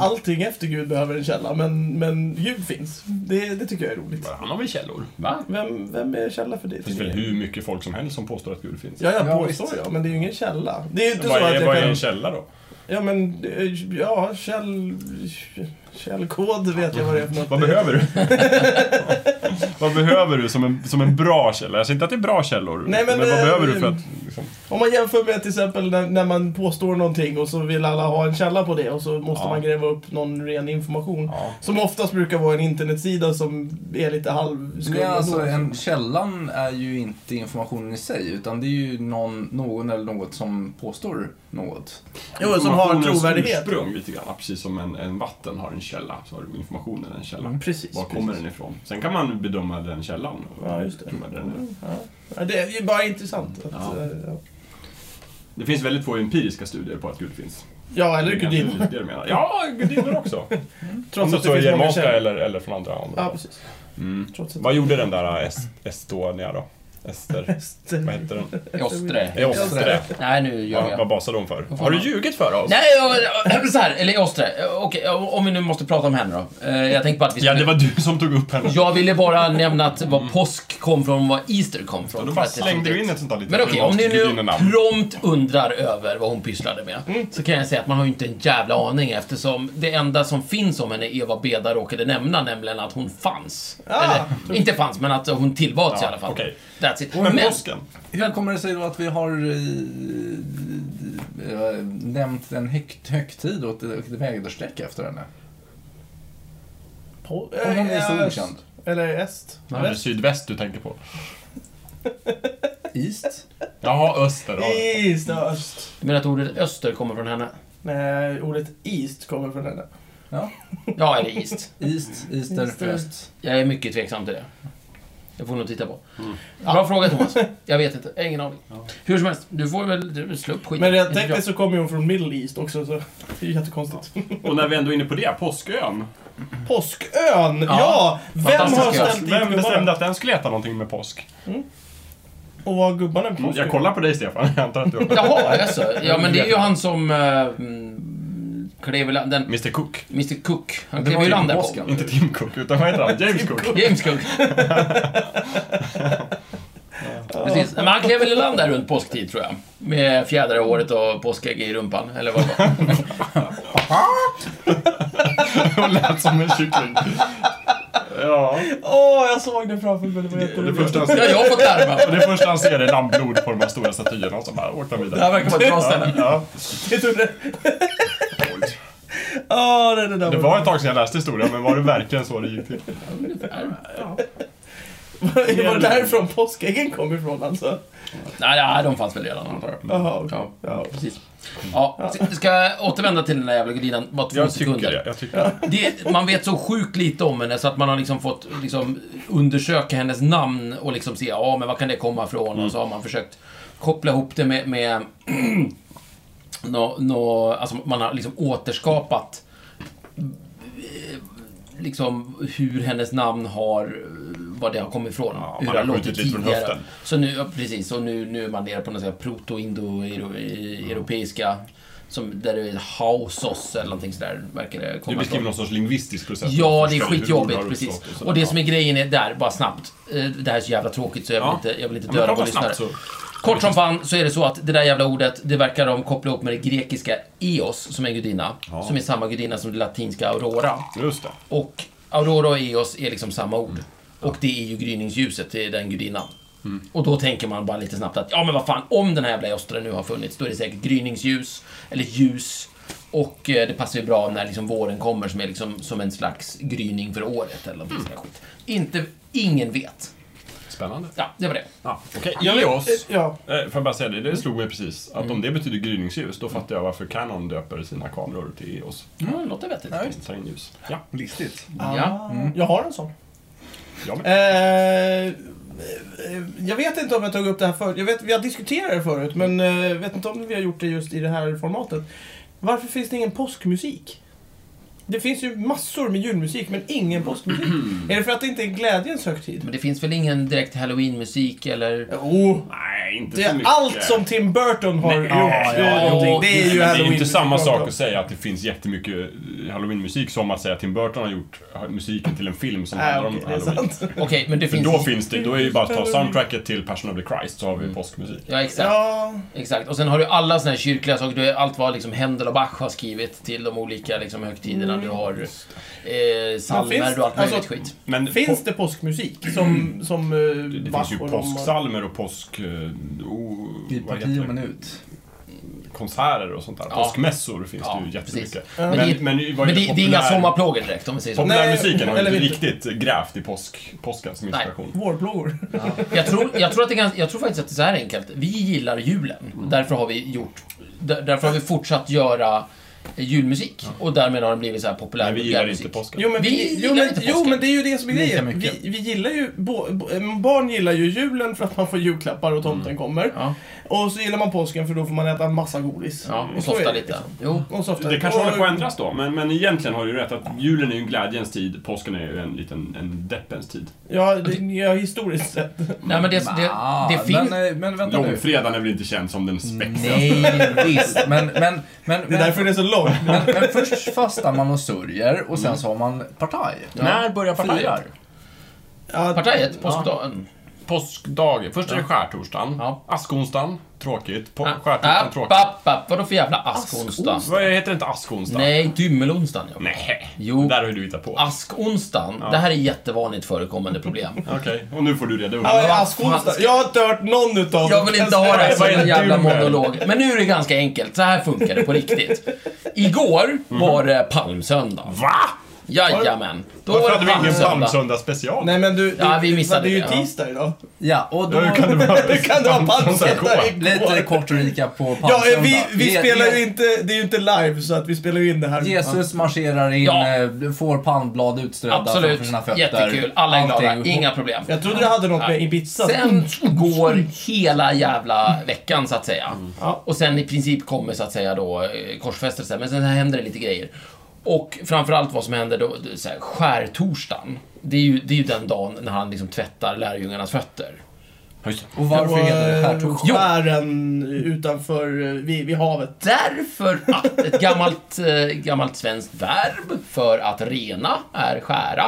Speaker 1: allting efter Gud behöver en källa, men, men Gud finns. Det, det tycker jag är roligt.
Speaker 4: Han har väl källor?
Speaker 2: Va?
Speaker 1: Vem, vem är källa för dig?
Speaker 4: Det finns väl hur mycket folk som helst som påstår att Gud finns.
Speaker 1: Ja, jag
Speaker 3: Ja,
Speaker 1: påstår
Speaker 3: visst.
Speaker 1: jag, men det är ju ingen källa. Det är ju inte
Speaker 4: Vad
Speaker 1: så att
Speaker 4: är,
Speaker 1: jag
Speaker 4: vad är
Speaker 1: kan...
Speaker 4: en källa då?
Speaker 1: Ja, men... eh, Ja, käll... Källkod vet jag vad det är för något.
Speaker 4: Vad
Speaker 1: [LAUGHS]
Speaker 4: behöver du? vad behöver du som en, som en bra källa? Jag säger inte att det är bra källor,
Speaker 1: Nej, men,
Speaker 4: men, vad
Speaker 1: eh,
Speaker 4: behöver du för att... Liksom,
Speaker 1: Om man jämför med till exempel när, när man påstår någonting och så vill alla ha en källa på det och så måste
Speaker 4: Ja.
Speaker 1: man gräva upp någon ren information.
Speaker 4: ja.
Speaker 1: Som oftast brukar vara en internetsida som är lite halvskum.
Speaker 3: Nej, alltså,
Speaker 1: ändå.
Speaker 3: en källan är ju inte informationen i sig, utan det är ju någon, någon eller något som påstår något.
Speaker 1: Jo, som har
Speaker 4: Informationens
Speaker 1: trovärdighet.
Speaker 4: ursprung lite grann, precis som en, en vatten har en källa, så har du informationen en källa.
Speaker 1: Precis.
Speaker 4: Var kommer den ifrån? Sen kan man bedöma den källan. och
Speaker 1: Ja, just det.
Speaker 4: bedöma den.
Speaker 1: Ja, det är ju bara intressant. Att,
Speaker 4: Ja.
Speaker 1: eh, ja.
Speaker 4: Det finns väldigt få empiriska studier på att Gud finns.
Speaker 1: ja, eller
Speaker 4: Det är kanske
Speaker 1: gudinna.
Speaker 4: lite det du menar. Ja, gudinnor också. Om
Speaker 1: [LAUGHS] Trots
Speaker 4: det
Speaker 1: att
Speaker 4: så
Speaker 1: det
Speaker 4: är
Speaker 1: finns många
Speaker 4: germanska
Speaker 1: källor.
Speaker 4: eller, eller från andra håll.
Speaker 1: Ja, precis.
Speaker 4: Mm.
Speaker 1: Trots att
Speaker 4: Vad gjorde den där Est- Estonia då?
Speaker 1: [LAUGHS]
Speaker 4: Ester... Vad hette den?
Speaker 2: Eostre.
Speaker 4: Eostre.
Speaker 2: Nej, nu gör
Speaker 4: Ja, vad
Speaker 2: jag.
Speaker 4: basade hon för? Har du ljugit för oss?
Speaker 2: Nej, jag, så här, eller Eostre. Okej, om vi nu måste prata om henne då. Eh, Jag tänkte bara att vi
Speaker 4: Ja,
Speaker 2: skulle...
Speaker 4: det var du som tog upp henne.
Speaker 2: Jag ville bara nämna att var påsk kom från och var Easter kom från.
Speaker 4: Då
Speaker 2: För
Speaker 4: bara
Speaker 2: att det-
Speaker 4: slängde du in ett sånt där litet
Speaker 2: Men okej, om ni nu
Speaker 4: gudinenamn.
Speaker 2: prompt undrar över vad hon pysslade med, så kan jag säga att man har ju inte en jävla aning eftersom det enda som finns om henne är vad Beda råkade nämna, nämligen att hon fanns. Eller, inte fanns, men att hon tillbads i alla fall.
Speaker 4: okej.
Speaker 2: That's it.
Speaker 4: Men påsken?
Speaker 3: Hur kommer det sig då att vi har eh, eh, nämnt en högt, högtid och ett ett väderstreck efter henne?
Speaker 1: På,
Speaker 3: Om hon är så
Speaker 1: eh,
Speaker 3: okänd.
Speaker 1: Eller est.
Speaker 4: Är det sydväst du tänker på?
Speaker 3: East?
Speaker 4: Jaha, öster. Ja.
Speaker 1: East, ja, öst.
Speaker 2: Du menar att ordet öster kommer från henne?
Speaker 1: Nej, ordet east kommer från henne.
Speaker 3: Ja.
Speaker 2: Ja, eller east.
Speaker 3: East, Easter,
Speaker 1: Easter.
Speaker 3: Öst.
Speaker 2: Jag är mycket tveksam till det. Jag får nog titta på. Bra fråga Thomas. Jag vet inte. Jag har ingen aning. Hur som helst, du får väl du, slå upp skiten.
Speaker 1: Men
Speaker 2: Det
Speaker 1: rent
Speaker 2: är bra.
Speaker 1: tekniskt så kommer hon från Middle East också, så det är jättekonstigt.
Speaker 4: Och när vi ändå är inne på det, Påskön. Alltså,
Speaker 1: Påskön! Ja! Vem
Speaker 2: fantastisk
Speaker 1: har
Speaker 2: ö.
Speaker 1: ställt dit
Speaker 4: Vem bestämde
Speaker 1: gubbarna?
Speaker 4: att den skulle heta någonting med påsk?
Speaker 1: Och var gubbarna på
Speaker 4: Mm, Jag
Speaker 1: påsken?
Speaker 4: kollar på dig Stefan, jag antar att du har...
Speaker 2: Jaha, alltså. Ja, men det är ju han som eh, mm, klev i land... Den,
Speaker 4: Mr Cook.
Speaker 2: Mr Cook. Han
Speaker 3: Det
Speaker 2: klev
Speaker 3: var
Speaker 2: ju i
Speaker 3: ju
Speaker 2: land där på.
Speaker 3: påsken.
Speaker 4: Inte [LAUGHS] Tim Cook, utan vad heter han? James Cook.
Speaker 2: James Cook. Precis. Men han klev väl i land där runt påsktid, tror jag. Med fjädrar i håret och påskägg i rumpan, eller vad det var.
Speaker 4: Och lät som en kyckling. Ja,
Speaker 1: Åh, jag såg det framför mig. Det var
Speaker 4: och det
Speaker 1: jätteroligt. [LAUGHS]
Speaker 4: första han
Speaker 2: Det har
Speaker 4: ser,
Speaker 2: jag fått larma.
Speaker 4: och det första han ser är dammblod på de här stora statyerna och så bara åkte han
Speaker 3: Det här
Speaker 4: vidare.
Speaker 3: verkar vara ett bra ställe.
Speaker 4: Ja.
Speaker 1: Det tog det. Åh, det, det där
Speaker 4: Det var ett tag sedan jag läste historien, men var det verkligen så det gick till?
Speaker 1: Det var därifrån påskäggen kom ifrån alltså.
Speaker 2: Nej, nej, de fanns väl redan, antar jag.
Speaker 1: Jaha, okej.
Speaker 2: Ja,
Speaker 1: ja.
Speaker 2: precis. Ja, ska jag återvända till den där jävla gudinan? Bara två
Speaker 4: Jag tycker
Speaker 2: sekunder.
Speaker 4: det. Jag tycker det.
Speaker 2: Det, man vet så sjukt lite om henne så att man har liksom fått liksom, undersöka hennes namn och liksom se, ja men vad kan det komma ifrån?
Speaker 4: Mm.
Speaker 2: Och så har man försökt koppla ihop det med, med [CLEARS THROAT] nå- nå- alltså man har liksom återskapat eh, liksom hur hennes namn har, eh, vad det har kommit ifrån.
Speaker 4: Ja,
Speaker 2: hur
Speaker 4: man
Speaker 2: det
Speaker 4: har skjutit lite från höften.
Speaker 2: Så nu, ja, precis, och nu, nu är man nere på något sånt här
Speaker 4: Mm.
Speaker 2: proto-indo-europeiska, som, där det är hausos eller någonting sådär, verkar det
Speaker 4: Du
Speaker 2: komma
Speaker 4: beskriver
Speaker 2: ifrån.
Speaker 4: någon sorts lingvistisk process.
Speaker 2: Ja, det är
Speaker 4: Förstår hur ord
Speaker 2: skitjobbigt,
Speaker 4: har
Speaker 2: precis.
Speaker 4: uppstått sådär.
Speaker 2: Och det som är grejen är där, bara snabbt. eh, Det här är så jävla tråkigt så jag vill
Speaker 4: Ja.
Speaker 2: inte, jag vill inte
Speaker 4: Ja, men
Speaker 2: döda vår
Speaker 4: prata
Speaker 2: lyssnare.
Speaker 4: snabbt så.
Speaker 2: Kort som fan så är det så att det där jävla ordet, det verkar de koppla ihop med det grekiska Eos, som är en gudinna. Som är samma gudinna som det latinska Aurora.
Speaker 4: Just det.
Speaker 2: Och Aurora och Eos är liksom samma ord. Och det är ju gryningsljuset, det är den gudinnan. Och då tänker man bara lite snabbt att ja men vad fan, om den här jävla Eostra nu har funnits, då är det säkert gryningsljus, eller ljus. Och eh, det passar ju bra när liksom våren kommer som är liksom som en slags gryning för året eller något mm. skit. Inte, ingen vet.
Speaker 4: Spännande.
Speaker 2: Ja, det var det.
Speaker 4: Ja, Okej,
Speaker 1: Jag vet-
Speaker 4: Eos.
Speaker 1: eh, ja.
Speaker 4: Eh, Får jag bara säga det, det slog mig precis. Att om det betyder gryningsljus, då fattar jag varför Canon döper sina kameror till Eos.
Speaker 2: Mm, det låter vettigt.
Speaker 3: Nej.
Speaker 4: Ta in ljus. Ja,
Speaker 3: Listigt.
Speaker 2: Ja.
Speaker 1: Ah. Jag har en sån.
Speaker 4: jag med.
Speaker 1: Eh, eh, jag vet inte om jag tog upp det här förut. Jag vet, vi har diskuterat det förut, men jag vet inte om vi har gjort det just i det här formatet. Varför finns det ingen påskmusik? Det finns ju massor med julmusik, men ingen påskmusik. är det för att det inte är glädjens högtid?
Speaker 2: Men det finns väl ingen direkt
Speaker 1: [LAUGHS]
Speaker 2: halloween-musik eller...
Speaker 1: Jo,
Speaker 4: Nej, inte
Speaker 1: det
Speaker 4: så
Speaker 1: är
Speaker 4: mycket.
Speaker 1: allt som Tim Burton har gjort.
Speaker 4: ja,
Speaker 1: eh,
Speaker 2: ja,
Speaker 1: någonting. det är ju
Speaker 4: Det är ju
Speaker 1: halloween.
Speaker 4: inte samma sak att säga att det finns jättemycket eh, halloween-musik som att säga att Tim Burton har gjort eh, musiken till en film som
Speaker 1: Nej,
Speaker 4: handlar om
Speaker 1: Ah, okej, det är
Speaker 4: halloween.
Speaker 1: sant.
Speaker 2: Okej, men det
Speaker 4: För
Speaker 2: finns...
Speaker 4: då finns det, då är det ju bara att ta soundtracket till Passion of the Christ så har vi påskmusik.
Speaker 2: Ja, exakt.
Speaker 1: Ja,
Speaker 2: Exakt, och sen har du alla såna här kyrkliga saker. Du har allt vad liksom Händel och Bach har skrivit till de olika liksom, högtiderna. Du har
Speaker 3: Mm,
Speaker 2: eh,
Speaker 1: Men finns-
Speaker 2: psalmer och allt möjligt
Speaker 1: alltså-
Speaker 2: skit.
Speaker 4: Men
Speaker 1: finns det påskmusik som... som eh,
Speaker 4: Det
Speaker 1: Bach
Speaker 4: finns ju
Speaker 1: och de har-
Speaker 4: påsksalmer och påsk... eh, o-
Speaker 3: I
Speaker 4: vad
Speaker 3: parti
Speaker 4: heter
Speaker 3: och
Speaker 4: det?
Speaker 3: minut.
Speaker 4: Konserter och sånt där.
Speaker 2: Ja.
Speaker 4: Påskmässor finns
Speaker 2: Ja,
Speaker 4: det ju jättemycket.
Speaker 2: precis.
Speaker 4: Men,
Speaker 2: Men det-
Speaker 4: ju vad
Speaker 2: Men det,
Speaker 4: gäller
Speaker 2: det är inga
Speaker 4: populär-
Speaker 2: sommarplågor direkt, om vi säger så.
Speaker 4: Populärmusiken har ju
Speaker 1: eller
Speaker 4: inte
Speaker 1: inte.
Speaker 4: riktigt grävt i påsk, påsken som inspiration.
Speaker 1: Vårplågor.
Speaker 2: Jag tror, jag, tror att det är ganska, jag tror faktiskt att det är så här enkelt. Vi gillar julen.
Speaker 3: Mm.
Speaker 2: Därför har vi gjort... där- Därför har vi fortsatt göra julmusik. Och därmed har den blivit så här populär.
Speaker 4: Men vi gillar inte påsken.
Speaker 1: Jo men, vi,
Speaker 2: Vi
Speaker 1: jo,
Speaker 2: gillar
Speaker 1: men,
Speaker 2: inte
Speaker 1: jo
Speaker 2: påsken.
Speaker 1: men det är ju det som är
Speaker 3: Lika
Speaker 1: grejen.
Speaker 3: mycket.
Speaker 1: Vi, vi gillar ju, bo, bo, eh, barn gillar ju julen för att man får julklappar och tomten kommer.
Speaker 2: Ja.
Speaker 1: Och så gillar man påsken för då får man äta massa godis.
Speaker 2: Ja, och
Speaker 1: Så är
Speaker 2: softa
Speaker 1: det
Speaker 2: lite.
Speaker 1: liksom.
Speaker 2: Jo.
Speaker 1: Och softa.
Speaker 4: Det kanske
Speaker 1: och,
Speaker 4: håller på att ändras då, men, men egentligen har du ju rätt att julen är ju en glädjens tid, påsken är ju en liten en deppens tid.
Speaker 1: Ja, det, ja, historiskt sett.
Speaker 2: Nej, men det, det,
Speaker 3: Ah,
Speaker 2: det finns...
Speaker 3: Men, eh, men vänta nu.
Speaker 4: Långfredagen är väl inte känd som den spexigaste.
Speaker 3: Nej, visst. Men, men, men, men,
Speaker 1: Det är därför det är så långt.
Speaker 3: men, men först fastar man och sörjer och sen så har man partaj. När börjar partajer?
Speaker 1: Ja,
Speaker 2: Partiet, påskdagen.
Speaker 4: Påskdagen, först är det skärtorsdagen,
Speaker 2: Ja.
Speaker 4: askonsdagen, tråkigt. På,
Speaker 2: Ah,
Speaker 4: skärtorsdagen,
Speaker 2: app,
Speaker 4: tråkigt.
Speaker 2: app, app. Vadå för jävla askonsdag?
Speaker 4: Vad heter det inte askonsdag?
Speaker 2: Nej, dymmelonsdagen. ja.
Speaker 4: Nej.
Speaker 2: Jo.
Speaker 4: Där har ju du hittat på.
Speaker 2: Askonsdagen, det här är jättevanligt förekommande problem.
Speaker 4: [LAUGHS] Okej, och nu får du reda upp.
Speaker 1: Ja,
Speaker 2: vad
Speaker 1: askonsdag.
Speaker 2: fan.
Speaker 1: Jag har inte hört någon utav
Speaker 2: Jag vill inte ha det här som
Speaker 4: Vad är
Speaker 2: en
Speaker 4: en
Speaker 2: jävla
Speaker 4: dummel?
Speaker 2: monolog. Men nu är det
Speaker 4: Mhm.
Speaker 2: ganska enkelt, så här funkar det på riktigt. Igår var det palmsöndag.
Speaker 4: Va?
Speaker 2: Jajamän. Då
Speaker 4: Varför
Speaker 2: var det
Speaker 4: hade vi ingen
Speaker 2: palmsöndag.
Speaker 4: palmsöndag special?
Speaker 1: Nej men du, du
Speaker 2: Ja, vi missade
Speaker 1: det. är ju
Speaker 2: det, ja.
Speaker 1: tisdag idag.
Speaker 3: Ja, och då...
Speaker 4: Hur kan det vara
Speaker 1: Hur [LAUGHS] kan det vara
Speaker 4: palmsöndag
Speaker 1: palmsöndag
Speaker 4: igår?
Speaker 1: igår?
Speaker 3: Lite kort recap på
Speaker 1: Ja,
Speaker 3: palmsöndag.
Speaker 1: vi, vi
Speaker 3: Je-
Speaker 1: spelar ju
Speaker 3: Je-
Speaker 1: inte, det är ju inte live så att vi spelar ju in det här.
Speaker 3: Jesus marscherar in,
Speaker 2: Ja.
Speaker 3: eh, får palmblad utströdda framför sina
Speaker 2: Absolut.
Speaker 3: fötter.
Speaker 2: Jättekul. Alla är glada.
Speaker 3: Allting.
Speaker 2: Inga problem.
Speaker 1: Jag trodde det hade något med Ibiza. Mm.
Speaker 2: Sen går hela jävla veckan så att säga.
Speaker 1: Ja.
Speaker 2: Och sen i princip kommer så att säga då eh, korsfästelsen. Men sen händer det lite grejer. Och framförallt vad som händer då, det är så här, skärtorsdagen. Det är, ju, det är ju den dagen när han liksom tvättar lärjungarnas fötter.
Speaker 3: Och varför
Speaker 1: Och,
Speaker 3: heter det
Speaker 1: eh,
Speaker 3: skärtorsdag?
Speaker 1: Skären utanför, eh, vid, vid havet.
Speaker 2: Därför att ett gammalt, eh, gammalt svenskt verb för att rena är skära.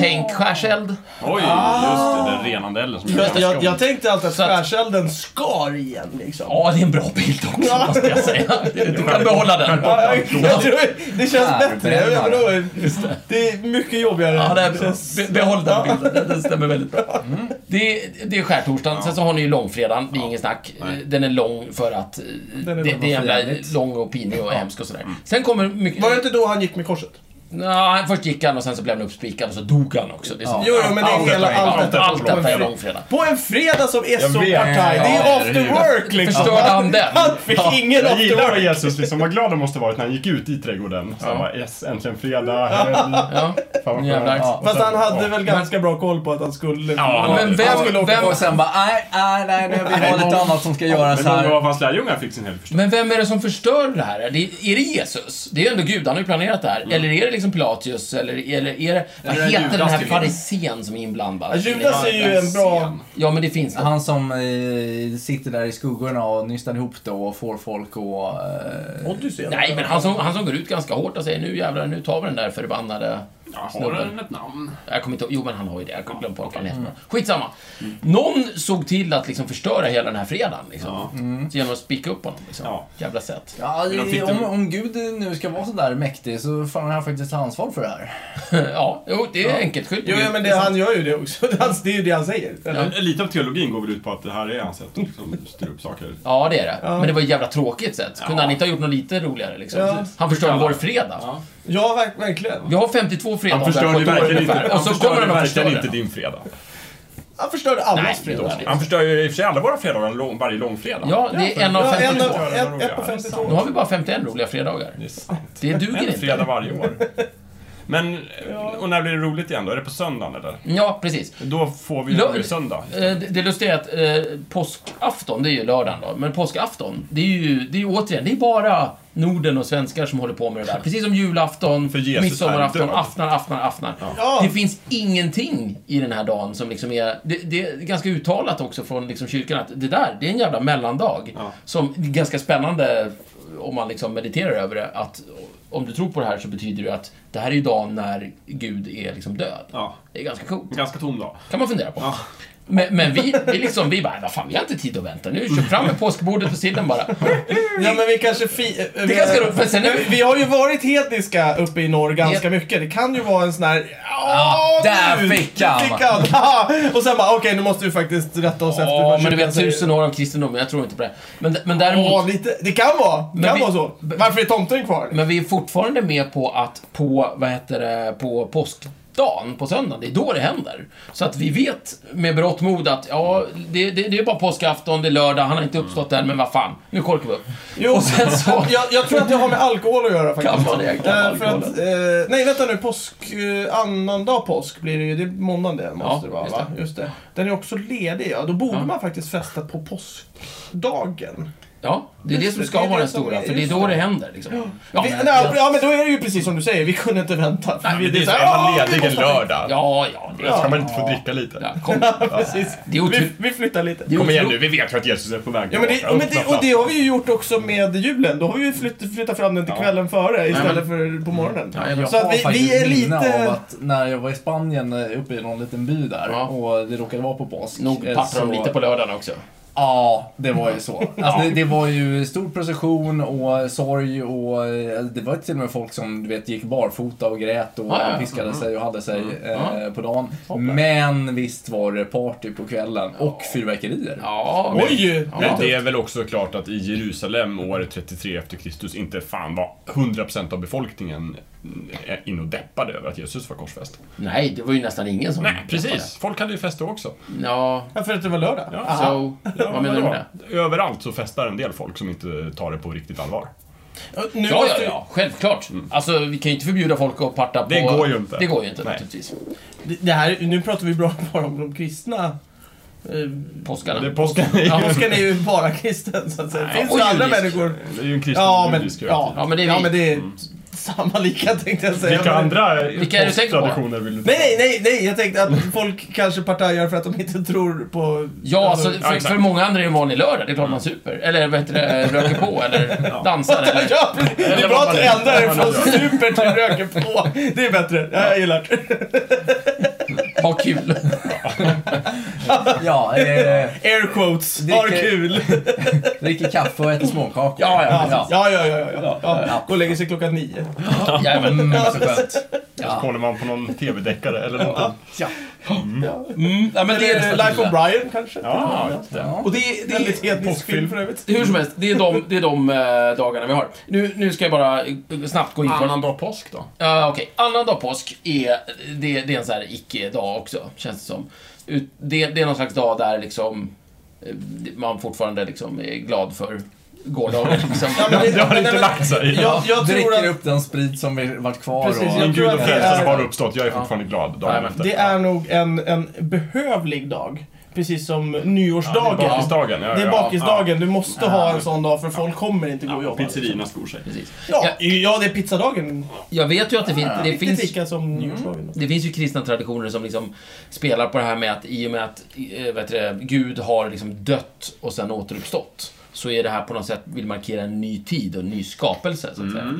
Speaker 2: Tänk skärseld.
Speaker 4: Oj, just det. Den renande elden som
Speaker 1: Jag, jag, jag tänkte alltid att
Speaker 2: Så att-
Speaker 1: skärselden skar igen liksom.
Speaker 2: Ja, det är en bra bild också,
Speaker 1: Ja.
Speaker 2: måste jag
Speaker 1: [LAUGHS]
Speaker 2: säga. Du kan behålla den.
Speaker 1: Ja, jag, jag tror, det känns
Speaker 3: Här,
Speaker 1: bättre. Jag
Speaker 3: brännare.
Speaker 1: menar, det är Mm. mycket jobbigare.
Speaker 2: Ja, det är bra.
Speaker 1: känns...
Speaker 2: Be- Behåll den bilden, Den- den stämmer väldigt bra.
Speaker 4: Mm.
Speaker 2: Det, är- det är skärtorsdagen, sen så har ni ju långfredagen, det är ingen snack. Den är lång för att eh,
Speaker 1: är
Speaker 2: det,
Speaker 1: lång
Speaker 2: det är
Speaker 3: och för
Speaker 2: jävla
Speaker 3: jävligt.
Speaker 2: lång och pinig och hemsk och sådär.
Speaker 4: Mm.
Speaker 2: Sen kommer mycket...
Speaker 1: Var det inte då han gick med korset?
Speaker 2: Nå, först gick han och sen så blev han uppspikad och så dog han också. Det är så...
Speaker 1: Jo, jo, men det är
Speaker 4: allt
Speaker 1: hela
Speaker 4: detta är-
Speaker 1: allt
Speaker 2: Allt,
Speaker 1: detta.
Speaker 2: allt detta är långfredag.
Speaker 1: På en fredag som är
Speaker 4: Jag
Speaker 1: så
Speaker 4: vet.
Speaker 1: partaj. Det
Speaker 4: Ja,
Speaker 1: är
Speaker 4: eller
Speaker 1: after
Speaker 4: hur?
Speaker 1: work liksom.
Speaker 2: Förstörde han den?
Speaker 1: Han fick ingen
Speaker 4: Jag
Speaker 1: after
Speaker 4: gillar
Speaker 1: work.
Speaker 4: Jesus, liksom, vad glad han måste ha varit när han gick ut i trädgården. Så han bara, yes, äntligen fredag, helg.
Speaker 2: Ja.
Speaker 4: Fan vad
Speaker 2: Jävlar.
Speaker 4: skönt.
Speaker 1: Fast han hade
Speaker 4: Ja.
Speaker 1: väl ganska bra koll på att han skulle...
Speaker 4: Ja, han-
Speaker 2: Men
Speaker 1: Han skulle
Speaker 2: vem,
Speaker 1: åka
Speaker 2: vem,
Speaker 3: Och sen bara, nej, nej, nej, nu, vi har lite annat som ska göras
Speaker 4: Men några
Speaker 3: här.
Speaker 4: av hans lärjungar fick sin helg förstås.
Speaker 2: men vem är det som förstör det här? Är det, är det Jesus? Det är ju ändå Gud, han har ju planerat det här. Eller är det liksom Pilatius? Eller, eller är det... Vad
Speaker 4: Mm. Eller är det
Speaker 2: heter den
Speaker 4: Judas
Speaker 2: här
Speaker 4: till och med?
Speaker 2: farisén som är inblandad?
Speaker 1: Ja, Judas är ju en bra...
Speaker 2: Ja, men det finns något.
Speaker 3: Han som eh, sitter där i skuggorna och nystar ihop det och får folk och... Eh,
Speaker 1: Odyssey.
Speaker 2: Nej, men han som, han som går ut ganska hårt och säger nu jävlar, nu tar vi den där förbannade snubben.
Speaker 4: ett namn?
Speaker 2: Jag kommer inte ihåg- Jo, men han har ju det. Jag glömde på vad han heter. Skitsamma. Någon såg till att liksom förstöra hela den här fredagen. Liksom. Så genom att spika upp honom. Liksom.
Speaker 4: Ja.
Speaker 2: Jävla sätt.
Speaker 3: ja,
Speaker 4: Men de fick
Speaker 3: om,
Speaker 4: dem-
Speaker 3: om Gud nu ska vara så där mäktig så fan har han faktiskt ansvar för det här.
Speaker 2: [LAUGHS] ja, jo, det är enkelt. Skyll på
Speaker 1: Jo, ja,
Speaker 2: Gud.
Speaker 1: men det, han gör ju det också. [LAUGHS] Alltså, Det är ju det han säger. eller?
Speaker 4: Lite av teologin går väl ut på att det här är hans sätt att liksom styra upp saker.
Speaker 2: Ja, det är det. Men det var ett jävla tråkigt sätt. Kunde han inte ha gjort något lite roligare? Liksom?
Speaker 1: Ja.
Speaker 2: Han förstörde vår fredag.
Speaker 1: Ja, verk- verkligen.
Speaker 2: Vi har 52 fredagar
Speaker 4: Han förstörde ju
Speaker 2: på ett år
Speaker 4: verkligen inte,
Speaker 2: ungefär. Och
Speaker 4: han
Speaker 2: så kommer
Speaker 4: förstörde
Speaker 2: han att förstöra
Speaker 4: verkligen
Speaker 2: den.
Speaker 4: inte din fredag.
Speaker 1: Han förstörde allas
Speaker 2: Nej,
Speaker 1: fredag.
Speaker 2: dåligt.
Speaker 4: Han förstör ju i och för sig alla våra fredagar lång, varje långfredag.
Speaker 2: Ja, det är en av
Speaker 1: Ja, en
Speaker 2: 52.
Speaker 1: av, en, en på
Speaker 2: Nu
Speaker 1: 52.
Speaker 2: har vi bara 51 roliga fredagar.
Speaker 4: Det är sant.
Speaker 2: Det duger
Speaker 4: En
Speaker 2: inte.
Speaker 4: fredag varje år. Men, och när blir det roligt igen då? Är det på söndagen eller?
Speaker 2: Ja, precis.
Speaker 4: Då får vi
Speaker 2: Lö-
Speaker 4: ju söndag.
Speaker 2: Eh, Det det lustiga är att eh, påskafton, det är ju lördagen då, men påskafton, det är ju, det är ju återigen, det är bara Norden och svenskar som håller på med det där. Precis som julafton,
Speaker 4: För Jesus är
Speaker 2: midsommarafton,
Speaker 4: död.
Speaker 2: aftnar, aftnar, aftnar.
Speaker 1: Ja.
Speaker 2: Det finns ingenting i den här dagen som liksom är... Det, det är ganska uttalat också från liksom kyrkan att det där, det är en jävla mellandag.
Speaker 4: Ja.
Speaker 2: Som det är ganska spännande om man liksom mediterar över det, att om du tror på det här så betyder det att det här är ju dagen när Gud är liksom död.
Speaker 4: Ja,
Speaker 2: Det är ganska coolt
Speaker 4: ganska tom dag.
Speaker 2: kan man fundera på. Men, men vi, vi liksom, vi bara, "Vad fan, vi har inte tid att vänta nu. Kör fram med påskbordet och
Speaker 1: [LAUGHS]
Speaker 2: sillen bara.
Speaker 1: Ja, men vi kanske... Fi- det
Speaker 2: ganska roligt, för sen är vi-
Speaker 1: vi har ju varit hedniska uppe i norr ganska
Speaker 2: Ja.
Speaker 1: mycket. Det kan ju vara en sån här...
Speaker 3: Ja,
Speaker 1: "Åh,
Speaker 3: där
Speaker 1: nu,
Speaker 3: fick han."
Speaker 1: nu Fick han. Haha. [LAUGHS] Och sen bara, okej, nu måste vi faktiskt rätta oss efter
Speaker 2: Ja, men du vet, tusen år av kristendomen, jag tror inte på det. Men, men
Speaker 1: Ja,
Speaker 2: däremot,
Speaker 1: lite. Det kan vara. Det
Speaker 2: Men
Speaker 1: kan
Speaker 2: vi-
Speaker 1: vara så. Varför är tomten kvar?
Speaker 2: men vi är fortfarande med på att på, vad heter det, på påskdagen, på söndagen, det är då det händer. Så att vi vet med berått mod att, ja, det, det, det är bara påskafton, det är lördag, han har inte uppstått än, men vad fan, nu korkar vi upp.
Speaker 1: Jo,
Speaker 2: Och sen så...
Speaker 1: [LAUGHS] jag, jag tror att det har med alkohol att göra faktiskt.
Speaker 2: Kan vara det, kan vara
Speaker 1: Eh, för att, eh, nej, vänta nu. Påsk, eh, annandag påsk blir det ju. Det är måndagen det måste
Speaker 2: Ja,
Speaker 1: det vara,
Speaker 2: just
Speaker 1: va? Just det. Den är också ledig, ja. Då borde man faktiskt festa på påskdagen.
Speaker 2: Ja, det är det som ska
Speaker 1: Det är det
Speaker 2: vara den
Speaker 1: som
Speaker 2: stora,
Speaker 1: är-
Speaker 2: för det är
Speaker 1: just
Speaker 2: då
Speaker 1: det.
Speaker 2: det händer. Liksom.
Speaker 1: Ja,
Speaker 2: Ja,
Speaker 1: vi,
Speaker 2: men-
Speaker 1: nej, ja, men då är det ju precis som du säger. Vi kunde inte vänta. För vi,
Speaker 4: Det är så
Speaker 1: här, "Ah,
Speaker 4: här,
Speaker 1: vi [LAUGHS]
Speaker 4: man ledig en
Speaker 1: måste-
Speaker 4: lördag.
Speaker 2: Ja, ja, det är
Speaker 4: Ska man inte få dricka lite?
Speaker 2: Ja, kom.
Speaker 1: Precis.
Speaker 2: Det är otur-
Speaker 1: Vi, vi flyttar lite.
Speaker 2: Det är
Speaker 4: Kom igen
Speaker 2: otro-
Speaker 4: nu, vi vet ju att Jesus är på väg
Speaker 1: Ja, men det,
Speaker 4: tillbaka.
Speaker 1: och, men det,
Speaker 4: Öppna
Speaker 1: och det har vi ju gjort också med julen. Då har vi ju flytt, flyttat fram den till kvällen före istället för på morgonen.
Speaker 2: Mm. jag
Speaker 1: så att vi,
Speaker 3: har
Speaker 1: vi
Speaker 3: faktiskt
Speaker 1: är
Speaker 3: minne
Speaker 1: lite...
Speaker 3: av att när jag var i Spanien eh, uppe i någon liten by där
Speaker 2: Ja.
Speaker 3: och det råkade vara på påsk.
Speaker 2: Nog
Speaker 3: eh,
Speaker 2: pattar de
Speaker 3: så-
Speaker 2: lite på lördagen också.
Speaker 3: Ja, det var ju så. Alltså, det, det var ju stor procession och sorg och eh, det var till och med folk som du vet, gick barfota och grät och
Speaker 2: Ja, ja.
Speaker 3: piskade sig och hade sig
Speaker 2: Ja.
Speaker 3: eh, på dagen. Men visst var det party på kvällen och fyrverkerier.
Speaker 2: Ja, men-
Speaker 1: Oj!
Speaker 4: Men det är väl också klart att i Jerusalem år 33 efter Kristus inte fan var 100% av befolkningen eh, in och deppade över att Jesus var korsfäst.
Speaker 2: Nej, det var ju nästan ingen som...
Speaker 4: Nej, precis. Folk hade ju fest då också.
Speaker 2: Ja,
Speaker 1: Ja, för att det var lördag.
Speaker 4: Ja.
Speaker 2: so... Vad menar du med det?
Speaker 4: det? Överallt så festar en del folk som inte tar det på riktigt allvar.
Speaker 1: Ja, Nu
Speaker 2: Ja, ja,
Speaker 1: måste-
Speaker 2: ja. Självklart. Alltså, vi kan ju inte förbjuda folk att parta på...
Speaker 4: Det går ju inte.
Speaker 2: Det går ju inte,
Speaker 4: Nej.
Speaker 2: naturligtvis.
Speaker 1: Det det här, nu pratar vi bra bara om de kristna. Eh,
Speaker 2: Påskarna.
Speaker 4: Det är påsken är ju,
Speaker 2: Ja,
Speaker 1: Påskan är ju bara kristen, så att säga. Det finns
Speaker 2: och
Speaker 1: ju andra
Speaker 2: judisk.
Speaker 1: människor.
Speaker 4: det är ju en kristen
Speaker 1: Ja, men,
Speaker 4: judisk
Speaker 1: ja.
Speaker 2: Ja, men det är vi.
Speaker 1: samma lika tänkte jag säga.
Speaker 4: Vilka
Speaker 1: Men-
Speaker 4: andra
Speaker 2: Mm. Vilka är du säker på?
Speaker 4: posttraditioner vill du
Speaker 1: Nej, nej, nej, nej, jag tänkte att folk kanske partajar för att de inte tror på...
Speaker 2: Ja, alltså, för,
Speaker 4: exakt.
Speaker 2: för många andra är det en vanlig lördag. Det är klart man super. Eller vad heter det, röker på eller dansar. Eller...
Speaker 1: Ja, precis. det är bra att du ändrar det från super till röker på. Det är bättre. Ja, jag gillar det.
Speaker 2: Ha kul.
Speaker 3: Ja, eh,
Speaker 1: Air quotes.
Speaker 3: Dricker-
Speaker 1: Har kul.
Speaker 3: dricker kaffe och äter småkakor.
Speaker 2: Ja, ja,
Speaker 1: Ja, ja, ja. ja, ja. ja.
Speaker 3: Ja.
Speaker 1: Gå och lägger sig klockan nio.
Speaker 2: Jajamän.
Speaker 3: Mm, så skönt.
Speaker 4: Så kollar man på någon TV-deckare eller något.
Speaker 3: Ja.
Speaker 2: Ja, men det
Speaker 1: Eller
Speaker 2: är
Speaker 1: Life of Brian kanske.
Speaker 4: Ja, just det.
Speaker 1: Och det är, det är väldigt etnisk film för övrigt.
Speaker 2: Hur som helst, det är de, det är de eh, dagarna vi har. Nu, nu ska jag bara eh, snabbt gå in på...
Speaker 4: dag påsk då?
Speaker 2: Ja, okej. Annandag påsk är, det, det är en sån här icke-dag också, känns det som. Ut- Det, det är någon slags dag där liksom eh, man fortfarande liksom är glad för gårdagen. Liksom.
Speaker 1: men
Speaker 4: Det har
Speaker 1: Nej,
Speaker 4: inte
Speaker 1: men-
Speaker 4: lagt sig.
Speaker 1: Jag, jag tror
Speaker 3: dricker
Speaker 1: att
Speaker 3: upp den sprit som vi varit kvar
Speaker 1: Precis,
Speaker 3: och...
Speaker 1: jag
Speaker 4: Min
Speaker 1: tror
Speaker 4: gud och
Speaker 1: att det
Speaker 4: frälsare
Speaker 1: är-
Speaker 4: har uppstått. Jag är fortfarande glad dagen efter.
Speaker 1: det är nog en, en behövlig dag. Precis som nyårsdagen.
Speaker 4: Det är bakisdagen. Ja,
Speaker 1: Det är
Speaker 4: ja.
Speaker 1: bakisdagen. Du måste ha en sån dag för folk kommer inte gå och
Speaker 4: Ja,
Speaker 1: jobba.
Speaker 4: Pizzerierna skor sig.
Speaker 2: Precis.
Speaker 1: Ja,
Speaker 2: Jag,
Speaker 1: ja, det är pizzadagen.
Speaker 2: jag vet ju att det, fin, det
Speaker 1: Riktigt
Speaker 2: finns...
Speaker 1: lika som
Speaker 4: Mm.
Speaker 1: nyårsdagen.
Speaker 2: Det finns ju kristna traditioner som liksom spelar på det här med att i och med att eh, vet du, det, Gud har liksom dött och sen återuppstått så är det här på något sätt, vill markera en ny tid och en ny skapelse. Så att säga.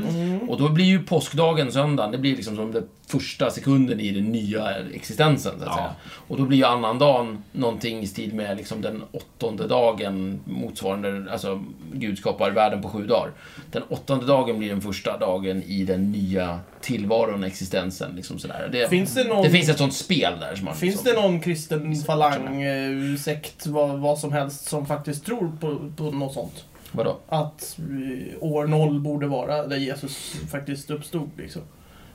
Speaker 2: Och då blir ju påskdagen, söndagen, det blir liksom som den första sekunden i den nya existensen. Så att
Speaker 4: Ja.
Speaker 2: säga. Och då blir ju annandagen någonting i stil med liksom den åttonde dagen motsvarande, alltså Gud skapar världen på sju dagar. Den åttonde dagen blir den första dagen i den nya tillvaron, existensen. Liksom sådär. Det,
Speaker 1: Finns det någon-
Speaker 2: det finns ett sånt spel där. Som man,
Speaker 1: Finns det
Speaker 2: liksom,
Speaker 1: någon kristen falang, eh, sekt, vad, vad som helst som faktiskt tror på, på något sånt?
Speaker 2: Vadå?
Speaker 1: Att eh, år noll borde vara där Jesus faktiskt uppstod liksom.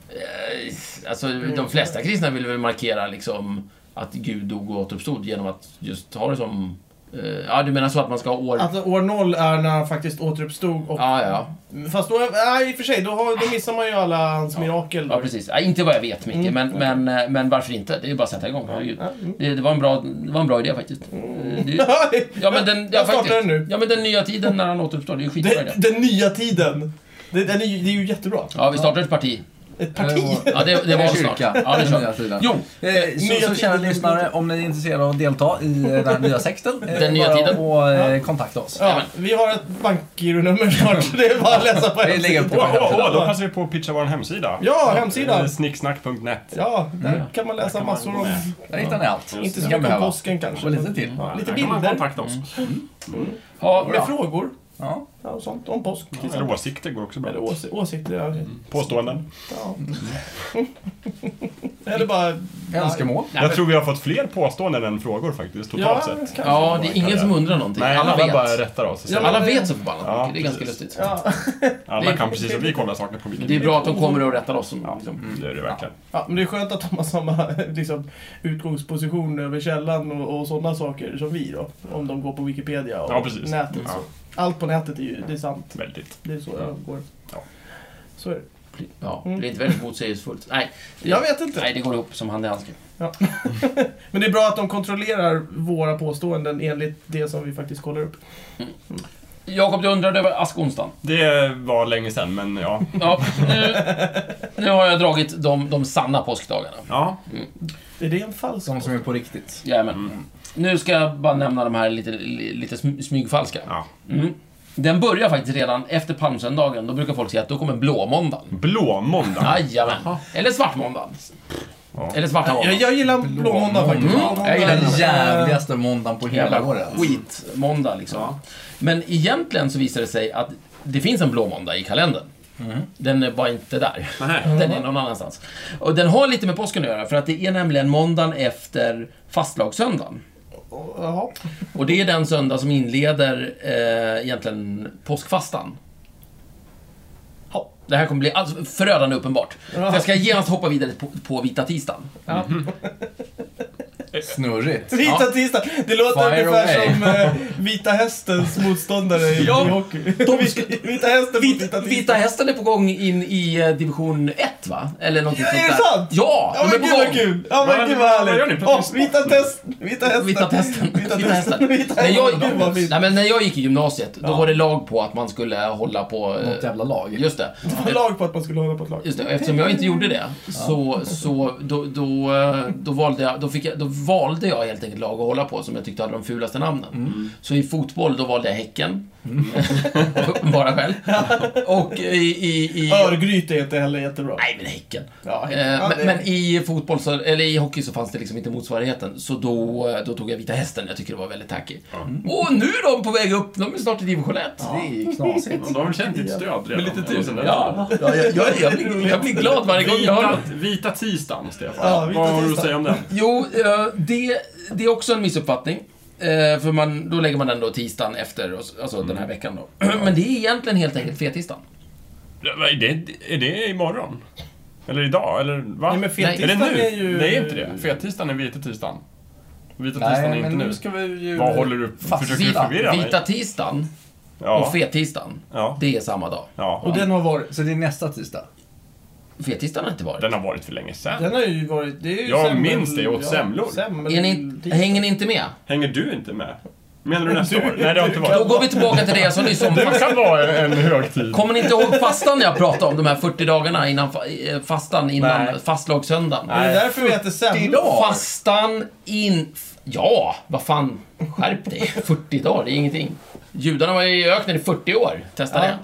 Speaker 2: Eh, Alltså,
Speaker 1: Mm.
Speaker 2: de flesta kristna vill väl markera liksom att Gud dog och återuppstod genom att just ha det som... eh, Ja, du menar så att man ska ha år...
Speaker 1: Att Alltså, år noll är när han faktiskt återuppstod och
Speaker 2: Ja, ja.
Speaker 1: Fast då, nej, i och för sig, då, har, då missar man ju alla hans mirakel.
Speaker 2: Ja, precis. Ja, inte vad jag vet,
Speaker 1: Mm.
Speaker 2: Micke, men, men, eh, men varför inte? Det är ju bara att sätta igång. Herregud. Det, det, var en bra, det var en bra idé faktiskt. Eh, Det,
Speaker 1: [LAUGHS]
Speaker 2: ja, men den, ja,
Speaker 1: Jag startar
Speaker 2: faktiskt.
Speaker 1: den nu.
Speaker 2: Ja, men den nya tiden när han återuppstår, det är ju skitbra idé.
Speaker 1: Den, den nya tiden. Det, den är, ju- det är ju jättebra.
Speaker 2: Ja, vi startar ett parti.
Speaker 1: Ett parti.
Speaker 2: Ja, det, det var
Speaker 3: Eller
Speaker 2: snart.
Speaker 3: kyrka,
Speaker 2: Ja, det
Speaker 3: den nya
Speaker 2: kör.
Speaker 3: tiden.
Speaker 2: Jo,
Speaker 3: Eh,
Speaker 1: Nya
Speaker 3: Så, så kära
Speaker 1: tiden.
Speaker 3: lyssnare, om ni är intresserade av att delta i eh, den här nya sekten, eh,
Speaker 2: Den nya
Speaker 3: bara
Speaker 2: tiden.
Speaker 3: Och, eh, kontakta oss.
Speaker 1: Ja, vi har ett bankgironummer snart. Det är bara att läsa på
Speaker 3: Det ligger på
Speaker 4: Åh,
Speaker 1: hemsidan.
Speaker 3: vår
Speaker 4: åh, åh, då passar vi på att pitcha vår hemsida.
Speaker 1: Ja, hemsidan.
Speaker 4: Eh, Snicksnack.net.
Speaker 1: Ja, där kan man läsa
Speaker 4: kan man
Speaker 1: massor
Speaker 4: gå
Speaker 1: om...
Speaker 4: med.
Speaker 3: Där hittar ni allt.
Speaker 1: Inte
Speaker 3: Ni
Speaker 1: så
Speaker 3: kan
Speaker 1: mycket om
Speaker 3: behöva.
Speaker 1: påsken kanske.
Speaker 3: Och lite
Speaker 1: men-
Speaker 3: till.
Speaker 1: Ja, lite
Speaker 4: Där kan man
Speaker 1: bilder.
Speaker 4: kontakta oss.
Speaker 2: ja,
Speaker 1: Med frågor.
Speaker 3: Ja.
Speaker 1: Ja, och sånt. Om påsk. till exempel.
Speaker 4: Eller åsikter går också bra.
Speaker 1: Eller ås- åsikter. ja.
Speaker 4: Påståenden.
Speaker 1: Ja. [LAUGHS] Eller bara...
Speaker 3: Önskemål.
Speaker 4: Jag tror vi har fått fler påståenden än frågor faktiskt,
Speaker 1: Ja,
Speaker 4: totalt sett.
Speaker 1: kanske.
Speaker 2: ja, det är ingen som undrar någonting.
Speaker 4: Nej,
Speaker 2: Alla
Speaker 4: alla, bara
Speaker 2: vet.
Speaker 4: rättar oss.
Speaker 1: Ja, men-
Speaker 2: Alla vet så förbannat
Speaker 4: Ja,
Speaker 2: mycket. Det är ganska
Speaker 4: precis.
Speaker 2: lustigt.
Speaker 1: Ja.
Speaker 4: Alla kan precis som vi kolla saker på
Speaker 2: Det är
Speaker 4: Wikipedia.
Speaker 2: bra att de kommer och rättar oss. Liksom.
Speaker 4: Mm, Det är det verkligen.
Speaker 1: Ja, men det är skönt att de har samma [LAUGHS] liksom, utgångsposition över källan och, och sådana saker som vi då. Om de går på Wikipedia och
Speaker 4: Ja, precis.
Speaker 1: nätet.
Speaker 4: Ja,
Speaker 1: Så. Allt på nätet är ju det är sant.
Speaker 4: väldigt.
Speaker 1: Det är så det går.
Speaker 4: Ja.
Speaker 1: Så är det.
Speaker 2: Ja, det
Speaker 1: Mm.
Speaker 2: är inte väldigt motsägelsefullt. Nej, det-
Speaker 1: Jag vet inte.
Speaker 2: nej, det går ihop som hand i handske.
Speaker 1: Men det är bra att de kontrollerar våra påståenden enligt det som vi faktiskt kollar upp.
Speaker 2: Jakob, du undrade över askonsdagen.
Speaker 4: Det var länge sedan, men ja.
Speaker 2: Ja, [LAUGHS] nu, nu har jag dragit de, de sanna påskdagarna.
Speaker 4: ja.
Speaker 1: Är det en falsk
Speaker 3: De som är på riktigt.
Speaker 2: Jajamän. Nu ska jag bara nämna de här lite, lite sm- smygfalska.
Speaker 4: ja.
Speaker 2: Mm. Den börjar faktiskt redan efter palmsöndagen. Då brukar folk säga att då kommer blåmåndagen.
Speaker 4: Blåmåndag.
Speaker 2: Jajamän. Eller svartmåndagen.
Speaker 4: Ja.
Speaker 2: Eller svarta
Speaker 1: jag,
Speaker 2: måndagen.
Speaker 1: jag gillar
Speaker 4: Mm.
Speaker 1: blåmåndag faktiskt. Blåmåndag
Speaker 3: Jag gillar den
Speaker 1: är-
Speaker 3: jävligaste måndagen på hela året.
Speaker 2: skitmåndag liksom. Men egentligen så visar det sig att det finns en blå måndag i kalendern.
Speaker 1: Mhm.
Speaker 2: Den är bara inte där. [LAUGHS] Den är någon annanstans. Och den har lite med påsken att göra, för att det är nämligen måndagen efter fastlagssöndagen.
Speaker 1: Jaha.
Speaker 2: Och det är den söndag som inleder eh, egentligen påskfastan.
Speaker 1: Ja.
Speaker 2: Det här kommer bli alls förödande uppenbart.
Speaker 1: Ja.
Speaker 2: Så jag ska genast hoppa vidare på, på vita tisdagen.
Speaker 1: Ja.
Speaker 3: Snurrigt.
Speaker 1: Vita
Speaker 2: Ja.
Speaker 1: tisdag. Det låter
Speaker 3: Fire
Speaker 1: ungefär
Speaker 3: away.
Speaker 1: som eh, Vita Hästens motståndare i
Speaker 2: Ja,
Speaker 1: i hockey.
Speaker 2: de ska-
Speaker 1: [LAUGHS] Vita Hästen mot
Speaker 2: Vita,
Speaker 1: Vita
Speaker 2: vita
Speaker 1: tisdag.
Speaker 2: Hästen är på gång in i eh, division 1, va? Eller något
Speaker 1: Ja,
Speaker 2: sånt
Speaker 1: är det
Speaker 2: där.
Speaker 1: sant?
Speaker 2: Ja!
Speaker 1: Ja
Speaker 2: de
Speaker 1: men
Speaker 2: är
Speaker 1: gud
Speaker 2: på
Speaker 1: vad
Speaker 2: gång.
Speaker 1: kul! Ja men
Speaker 4: Vad-
Speaker 1: gud vad
Speaker 4: vad gör ni?
Speaker 1: härligt!
Speaker 4: Pratar ni
Speaker 1: Åh, vita test! Vita hästen!
Speaker 2: Vita testen.
Speaker 1: Vita testen! Vita
Speaker 2: När jag,
Speaker 1: hästen! Gud vad fint!
Speaker 2: nej, men när jag gick i gymnasiet, då var det lag på att man skulle hålla på... eh,
Speaker 3: Något jävla lag.
Speaker 2: Just det.
Speaker 1: Det var lag på att man skulle hålla på ett lag.
Speaker 2: Just det. och Eftersom jag inte gjorde det, så, så då, då, eh, då, valde jag, då, fick jag, då valde jag helt enkelt lag att hålla på som jag tyckte hade de fulaste namnen. Så i fotboll, då valde jag Häcken. [LAUGHS] Bara själv. Och i... i, i
Speaker 1: Örgryte är inte heller jättebra.
Speaker 2: nej, men Häcken.
Speaker 1: Ja,
Speaker 2: Eh,
Speaker 1: ja, det-
Speaker 2: men, men i fotboll, så, eller i hockey, så fanns det liksom inte motsvarigheten. Så då, eh, då tog jag Vita Hästen. Jag tycker det var väldigt tacky. Mm. Och nu är de på väg upp. De är snart i division 1.
Speaker 3: Det är ju knasigt.
Speaker 4: De har väl känt ditt stöd redan.
Speaker 1: lite till.
Speaker 4: Sen där.
Speaker 2: Ja, ja jag, jag, jag, blir, jag blir glad varje gång jag hör
Speaker 4: Vita,
Speaker 2: dem.
Speaker 4: vita tisdagen, Stefan.
Speaker 1: Ja, vita
Speaker 4: Vad har du att
Speaker 1: tisdagen.
Speaker 4: säga om den?
Speaker 2: Jo, eh, det, det är också en missuppfattning. Eh, För man, då lägger man den då tisdagen efter, och s- alltså
Speaker 4: Mm.
Speaker 2: den här veckan då. [CLEARS THROAT] Men det är egentligen helt enkelt fettisdagen.
Speaker 4: Är det, är det imorgon? Eller idag? Eller va?
Speaker 1: Nej men
Speaker 4: är det
Speaker 1: fettisdagen
Speaker 4: nu?
Speaker 1: är ju...
Speaker 4: Det är inte det. Fettisdagen är vita tisdagen. Vita tisdagen är
Speaker 3: Nej,
Speaker 4: inte
Speaker 3: men
Speaker 4: nu.
Speaker 3: nu ska vi ju...
Speaker 4: Vad håller du... Försöker du
Speaker 2: Vita,
Speaker 4: förvirra
Speaker 2: vita
Speaker 4: mig?
Speaker 2: tisdagen och
Speaker 4: Ja.
Speaker 2: fettisdagen,
Speaker 4: Ja.
Speaker 2: det är samma dag.
Speaker 1: Och
Speaker 4: ja.
Speaker 1: den har varit...
Speaker 3: Så det är nästa tisdag?
Speaker 2: Fettisdagen har inte varit.
Speaker 4: Den har varit för länge sedan.
Speaker 1: Den har ju varit... Det är ju
Speaker 4: Jag minns det, jag åt
Speaker 1: ja,
Speaker 4: semlor.
Speaker 1: Semmel...
Speaker 2: Är ni, hänger ni inte med?
Speaker 4: Hänger du inte med? Menar du nästa
Speaker 1: Du-
Speaker 4: år? Nej, det har inte
Speaker 2: Då
Speaker 4: varit.
Speaker 2: går vi tillbaka till det jag sa nyss om
Speaker 4: Det
Speaker 2: fastan.
Speaker 4: kan vara en en högtid.
Speaker 2: Kommer ni inte ihåg fastan jag pratade om? De här 40 dagarna innan fa- eh, fastan innan
Speaker 4: Nej.
Speaker 2: fastlagssöndagen.
Speaker 1: Är det därför vi äter semlor?
Speaker 2: Fastan in... f- Ja, vad fan. Skärp dig. 40 dagar, det är ingenting. Judarna var i öknen i 40 år. Testa
Speaker 1: Ja.
Speaker 2: det.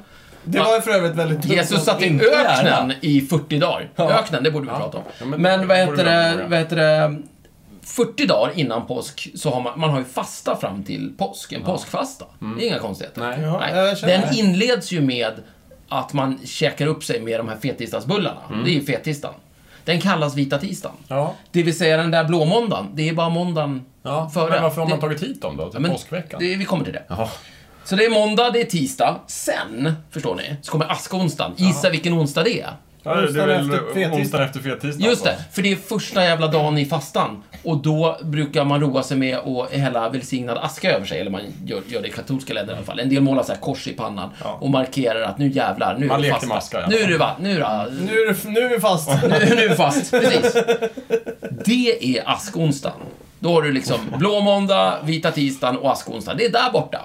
Speaker 1: Det var ju för övrigt väldigt dumt.
Speaker 2: Jesus satt i
Speaker 3: Inte gärna.
Speaker 2: öknen i 40 dagar. Öknen, det borde vi prata om.
Speaker 4: Ja, men-
Speaker 2: Men vad
Speaker 4: det borde
Speaker 2: heter
Speaker 4: vi
Speaker 2: det,
Speaker 4: göra.
Speaker 2: vad heter det? 40 dagar innan påsk så har man, man har ju fasta fram till påsk. En påskfasta. Det är inga konstigheter.
Speaker 4: Mm. Nej.
Speaker 1: Ja,
Speaker 2: Nej.
Speaker 1: jag känner
Speaker 2: Den
Speaker 1: det.
Speaker 2: inleds ju med att man käkar upp sig med de här fettisdagsbullarna.
Speaker 4: Mm.
Speaker 2: Det är ju fettisdagen. Den kallas vita tisdagen.
Speaker 3: Ja.
Speaker 2: Det vill säga den där blåmåndagen, det är bara måndagen
Speaker 4: Ja,
Speaker 2: före.
Speaker 4: men varför har man
Speaker 2: Det-
Speaker 4: tagit hit dem då? Till
Speaker 2: Ja, men
Speaker 4: påskveckan?
Speaker 2: Det, vi kommer till det.
Speaker 4: Jaha.
Speaker 2: Så det är måndag, det är tisdag. Sen, förstår ni, så kommer askonsdagen. Gissa vilken onsdag det är.
Speaker 4: Ja, det är
Speaker 1: Onsdagen
Speaker 4: väl
Speaker 1: efter fettisdagen.
Speaker 4: onsdagen efter fettisdagen.
Speaker 2: Just det,
Speaker 4: alltså.
Speaker 2: för det är första jävla dagen i fastan. Och då brukar man roa sig med att hälla välsignad aska över sig. Eller man gör, gör det i katolska länder i alla fall. En del målar så här kors i pannan
Speaker 4: Ja.
Speaker 2: och markerar att nu jävlar, nu
Speaker 4: Man
Speaker 2: är det
Speaker 4: leker
Speaker 2: fasta.
Speaker 4: med aska i alla
Speaker 2: nu är
Speaker 4: fall.
Speaker 2: det va, nu då.
Speaker 1: Nu är, det, nu är vi
Speaker 2: [LAUGHS]
Speaker 1: fast.
Speaker 2: Nu, nu är det fast. Precis. Det är askonsdagen. Då har du liksom blå måndag, vita tisdagen och askonsdagen. Det är där borta.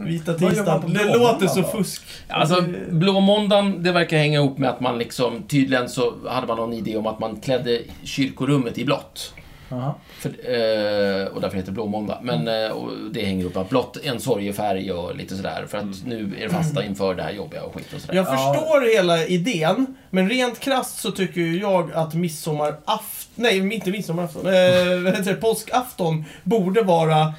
Speaker 1: Vita
Speaker 3: gör man på
Speaker 1: tisdagen. Det
Speaker 3: blåmåndag
Speaker 1: låter så
Speaker 3: då?
Speaker 1: fusk.
Speaker 2: Alltså, blå måndagen, det verkar hänga ihop med att man liksom, tydligen så hade man någon idé om att man klädde kyrkorummet i blått.
Speaker 3: Aha.
Speaker 2: För, eh, och därför heter det blå måndag. Men
Speaker 4: Mm.
Speaker 2: eh, och det hänger ihop med att blått är en sorgefärg och lite sådär. För
Speaker 4: Mm.
Speaker 2: att nu är det fasta inför det här jobbiga och skit och sådär.
Speaker 1: Jag förstår hela idén, men rent krasst så tycker ju jag att midsommarafton, nej inte midsommarafton, eh, vad heter det, påskafton borde vara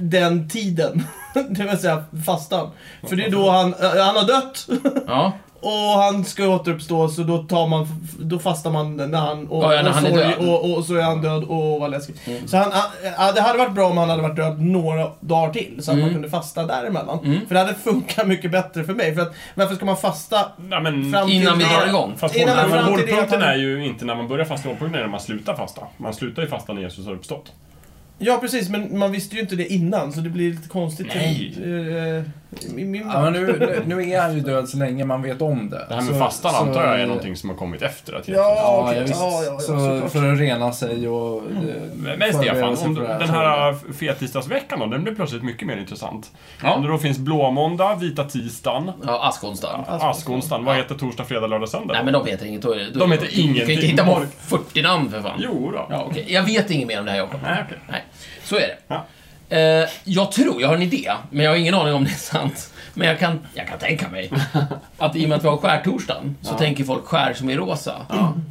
Speaker 1: den tiden. [LAUGHS] Det vill säga fastan. För det är då han, eh, han har dött
Speaker 2: Ja,
Speaker 1: och han ska återuppstå så då tar man, då fastar man när han, och,
Speaker 2: Ja, ja, när
Speaker 1: och,
Speaker 2: han är
Speaker 1: sorg,
Speaker 2: död. Mm.
Speaker 1: och, och så är han död och vad läskigt. Så han, eh, ja, det hade varit bra om han hade varit död några dagar till så att
Speaker 2: Mm.
Speaker 1: man kunde fasta däremellan. För det hade funkat mycket bättre för mig. För att, varför ska man fasta
Speaker 4: Nej, men...
Speaker 1: Fram till-
Speaker 2: innan vi drar igång.
Speaker 4: Fast
Speaker 1: Innan
Speaker 4: håll-
Speaker 1: vi fram till det att
Speaker 4: hållpunkten
Speaker 1: han-
Speaker 4: är ju inte när man börjar fasta, hållpunkten är när man slutar fasta. Man slutar ju fasta när Jesus har uppstått.
Speaker 1: Ja, precis. Men man visste ju inte det innan, så det blir lite konstigt.
Speaker 4: Nej.
Speaker 1: Eh, i min
Speaker 3: Ja, men nu, nu- nu är han ju död så länge man vet om det.
Speaker 4: Det här med
Speaker 3: Så-
Speaker 4: fastan
Speaker 3: så-
Speaker 4: antar jag är någonting som har kommit efter att Jesus...
Speaker 1: Ja,
Speaker 3: Alltså, Ja,
Speaker 1: okej.
Speaker 3: ja, visst.
Speaker 1: Ja, ja, ja,
Speaker 3: så
Speaker 1: såklart.
Speaker 3: för att rena sig och... eh,
Speaker 4: Men
Speaker 3: förbereda
Speaker 4: Stefan,
Speaker 3: sig
Speaker 4: om
Speaker 3: för det
Speaker 4: den här fettisdagsveckan då, den blev plötsligt mycket mer intressant.
Speaker 2: Ja.
Speaker 4: Om det då finns blåmåndag, vita tisdagen,
Speaker 2: ja askonsdagen.
Speaker 4: askonsdagen. Vad heter torsdag, fredag, lördag, söndag?
Speaker 2: Nej men de heter inget. Då, är- då,
Speaker 4: De heter
Speaker 2: Du kan inte
Speaker 4: ingenting.
Speaker 2: hitta på 40 namn för fan.
Speaker 4: Jo då.
Speaker 2: Ja, okej. Jag vet inget mer om det här Jakob. Nej, Nej. Så är det.
Speaker 4: Ja.
Speaker 2: Eh, jag tror, jag har en idé, men jag har ingen aning om det är sant. Men jag kan, jag kan tänka mig att i och med att vi har skärtorsdagen så tänker folk skär som är rosa.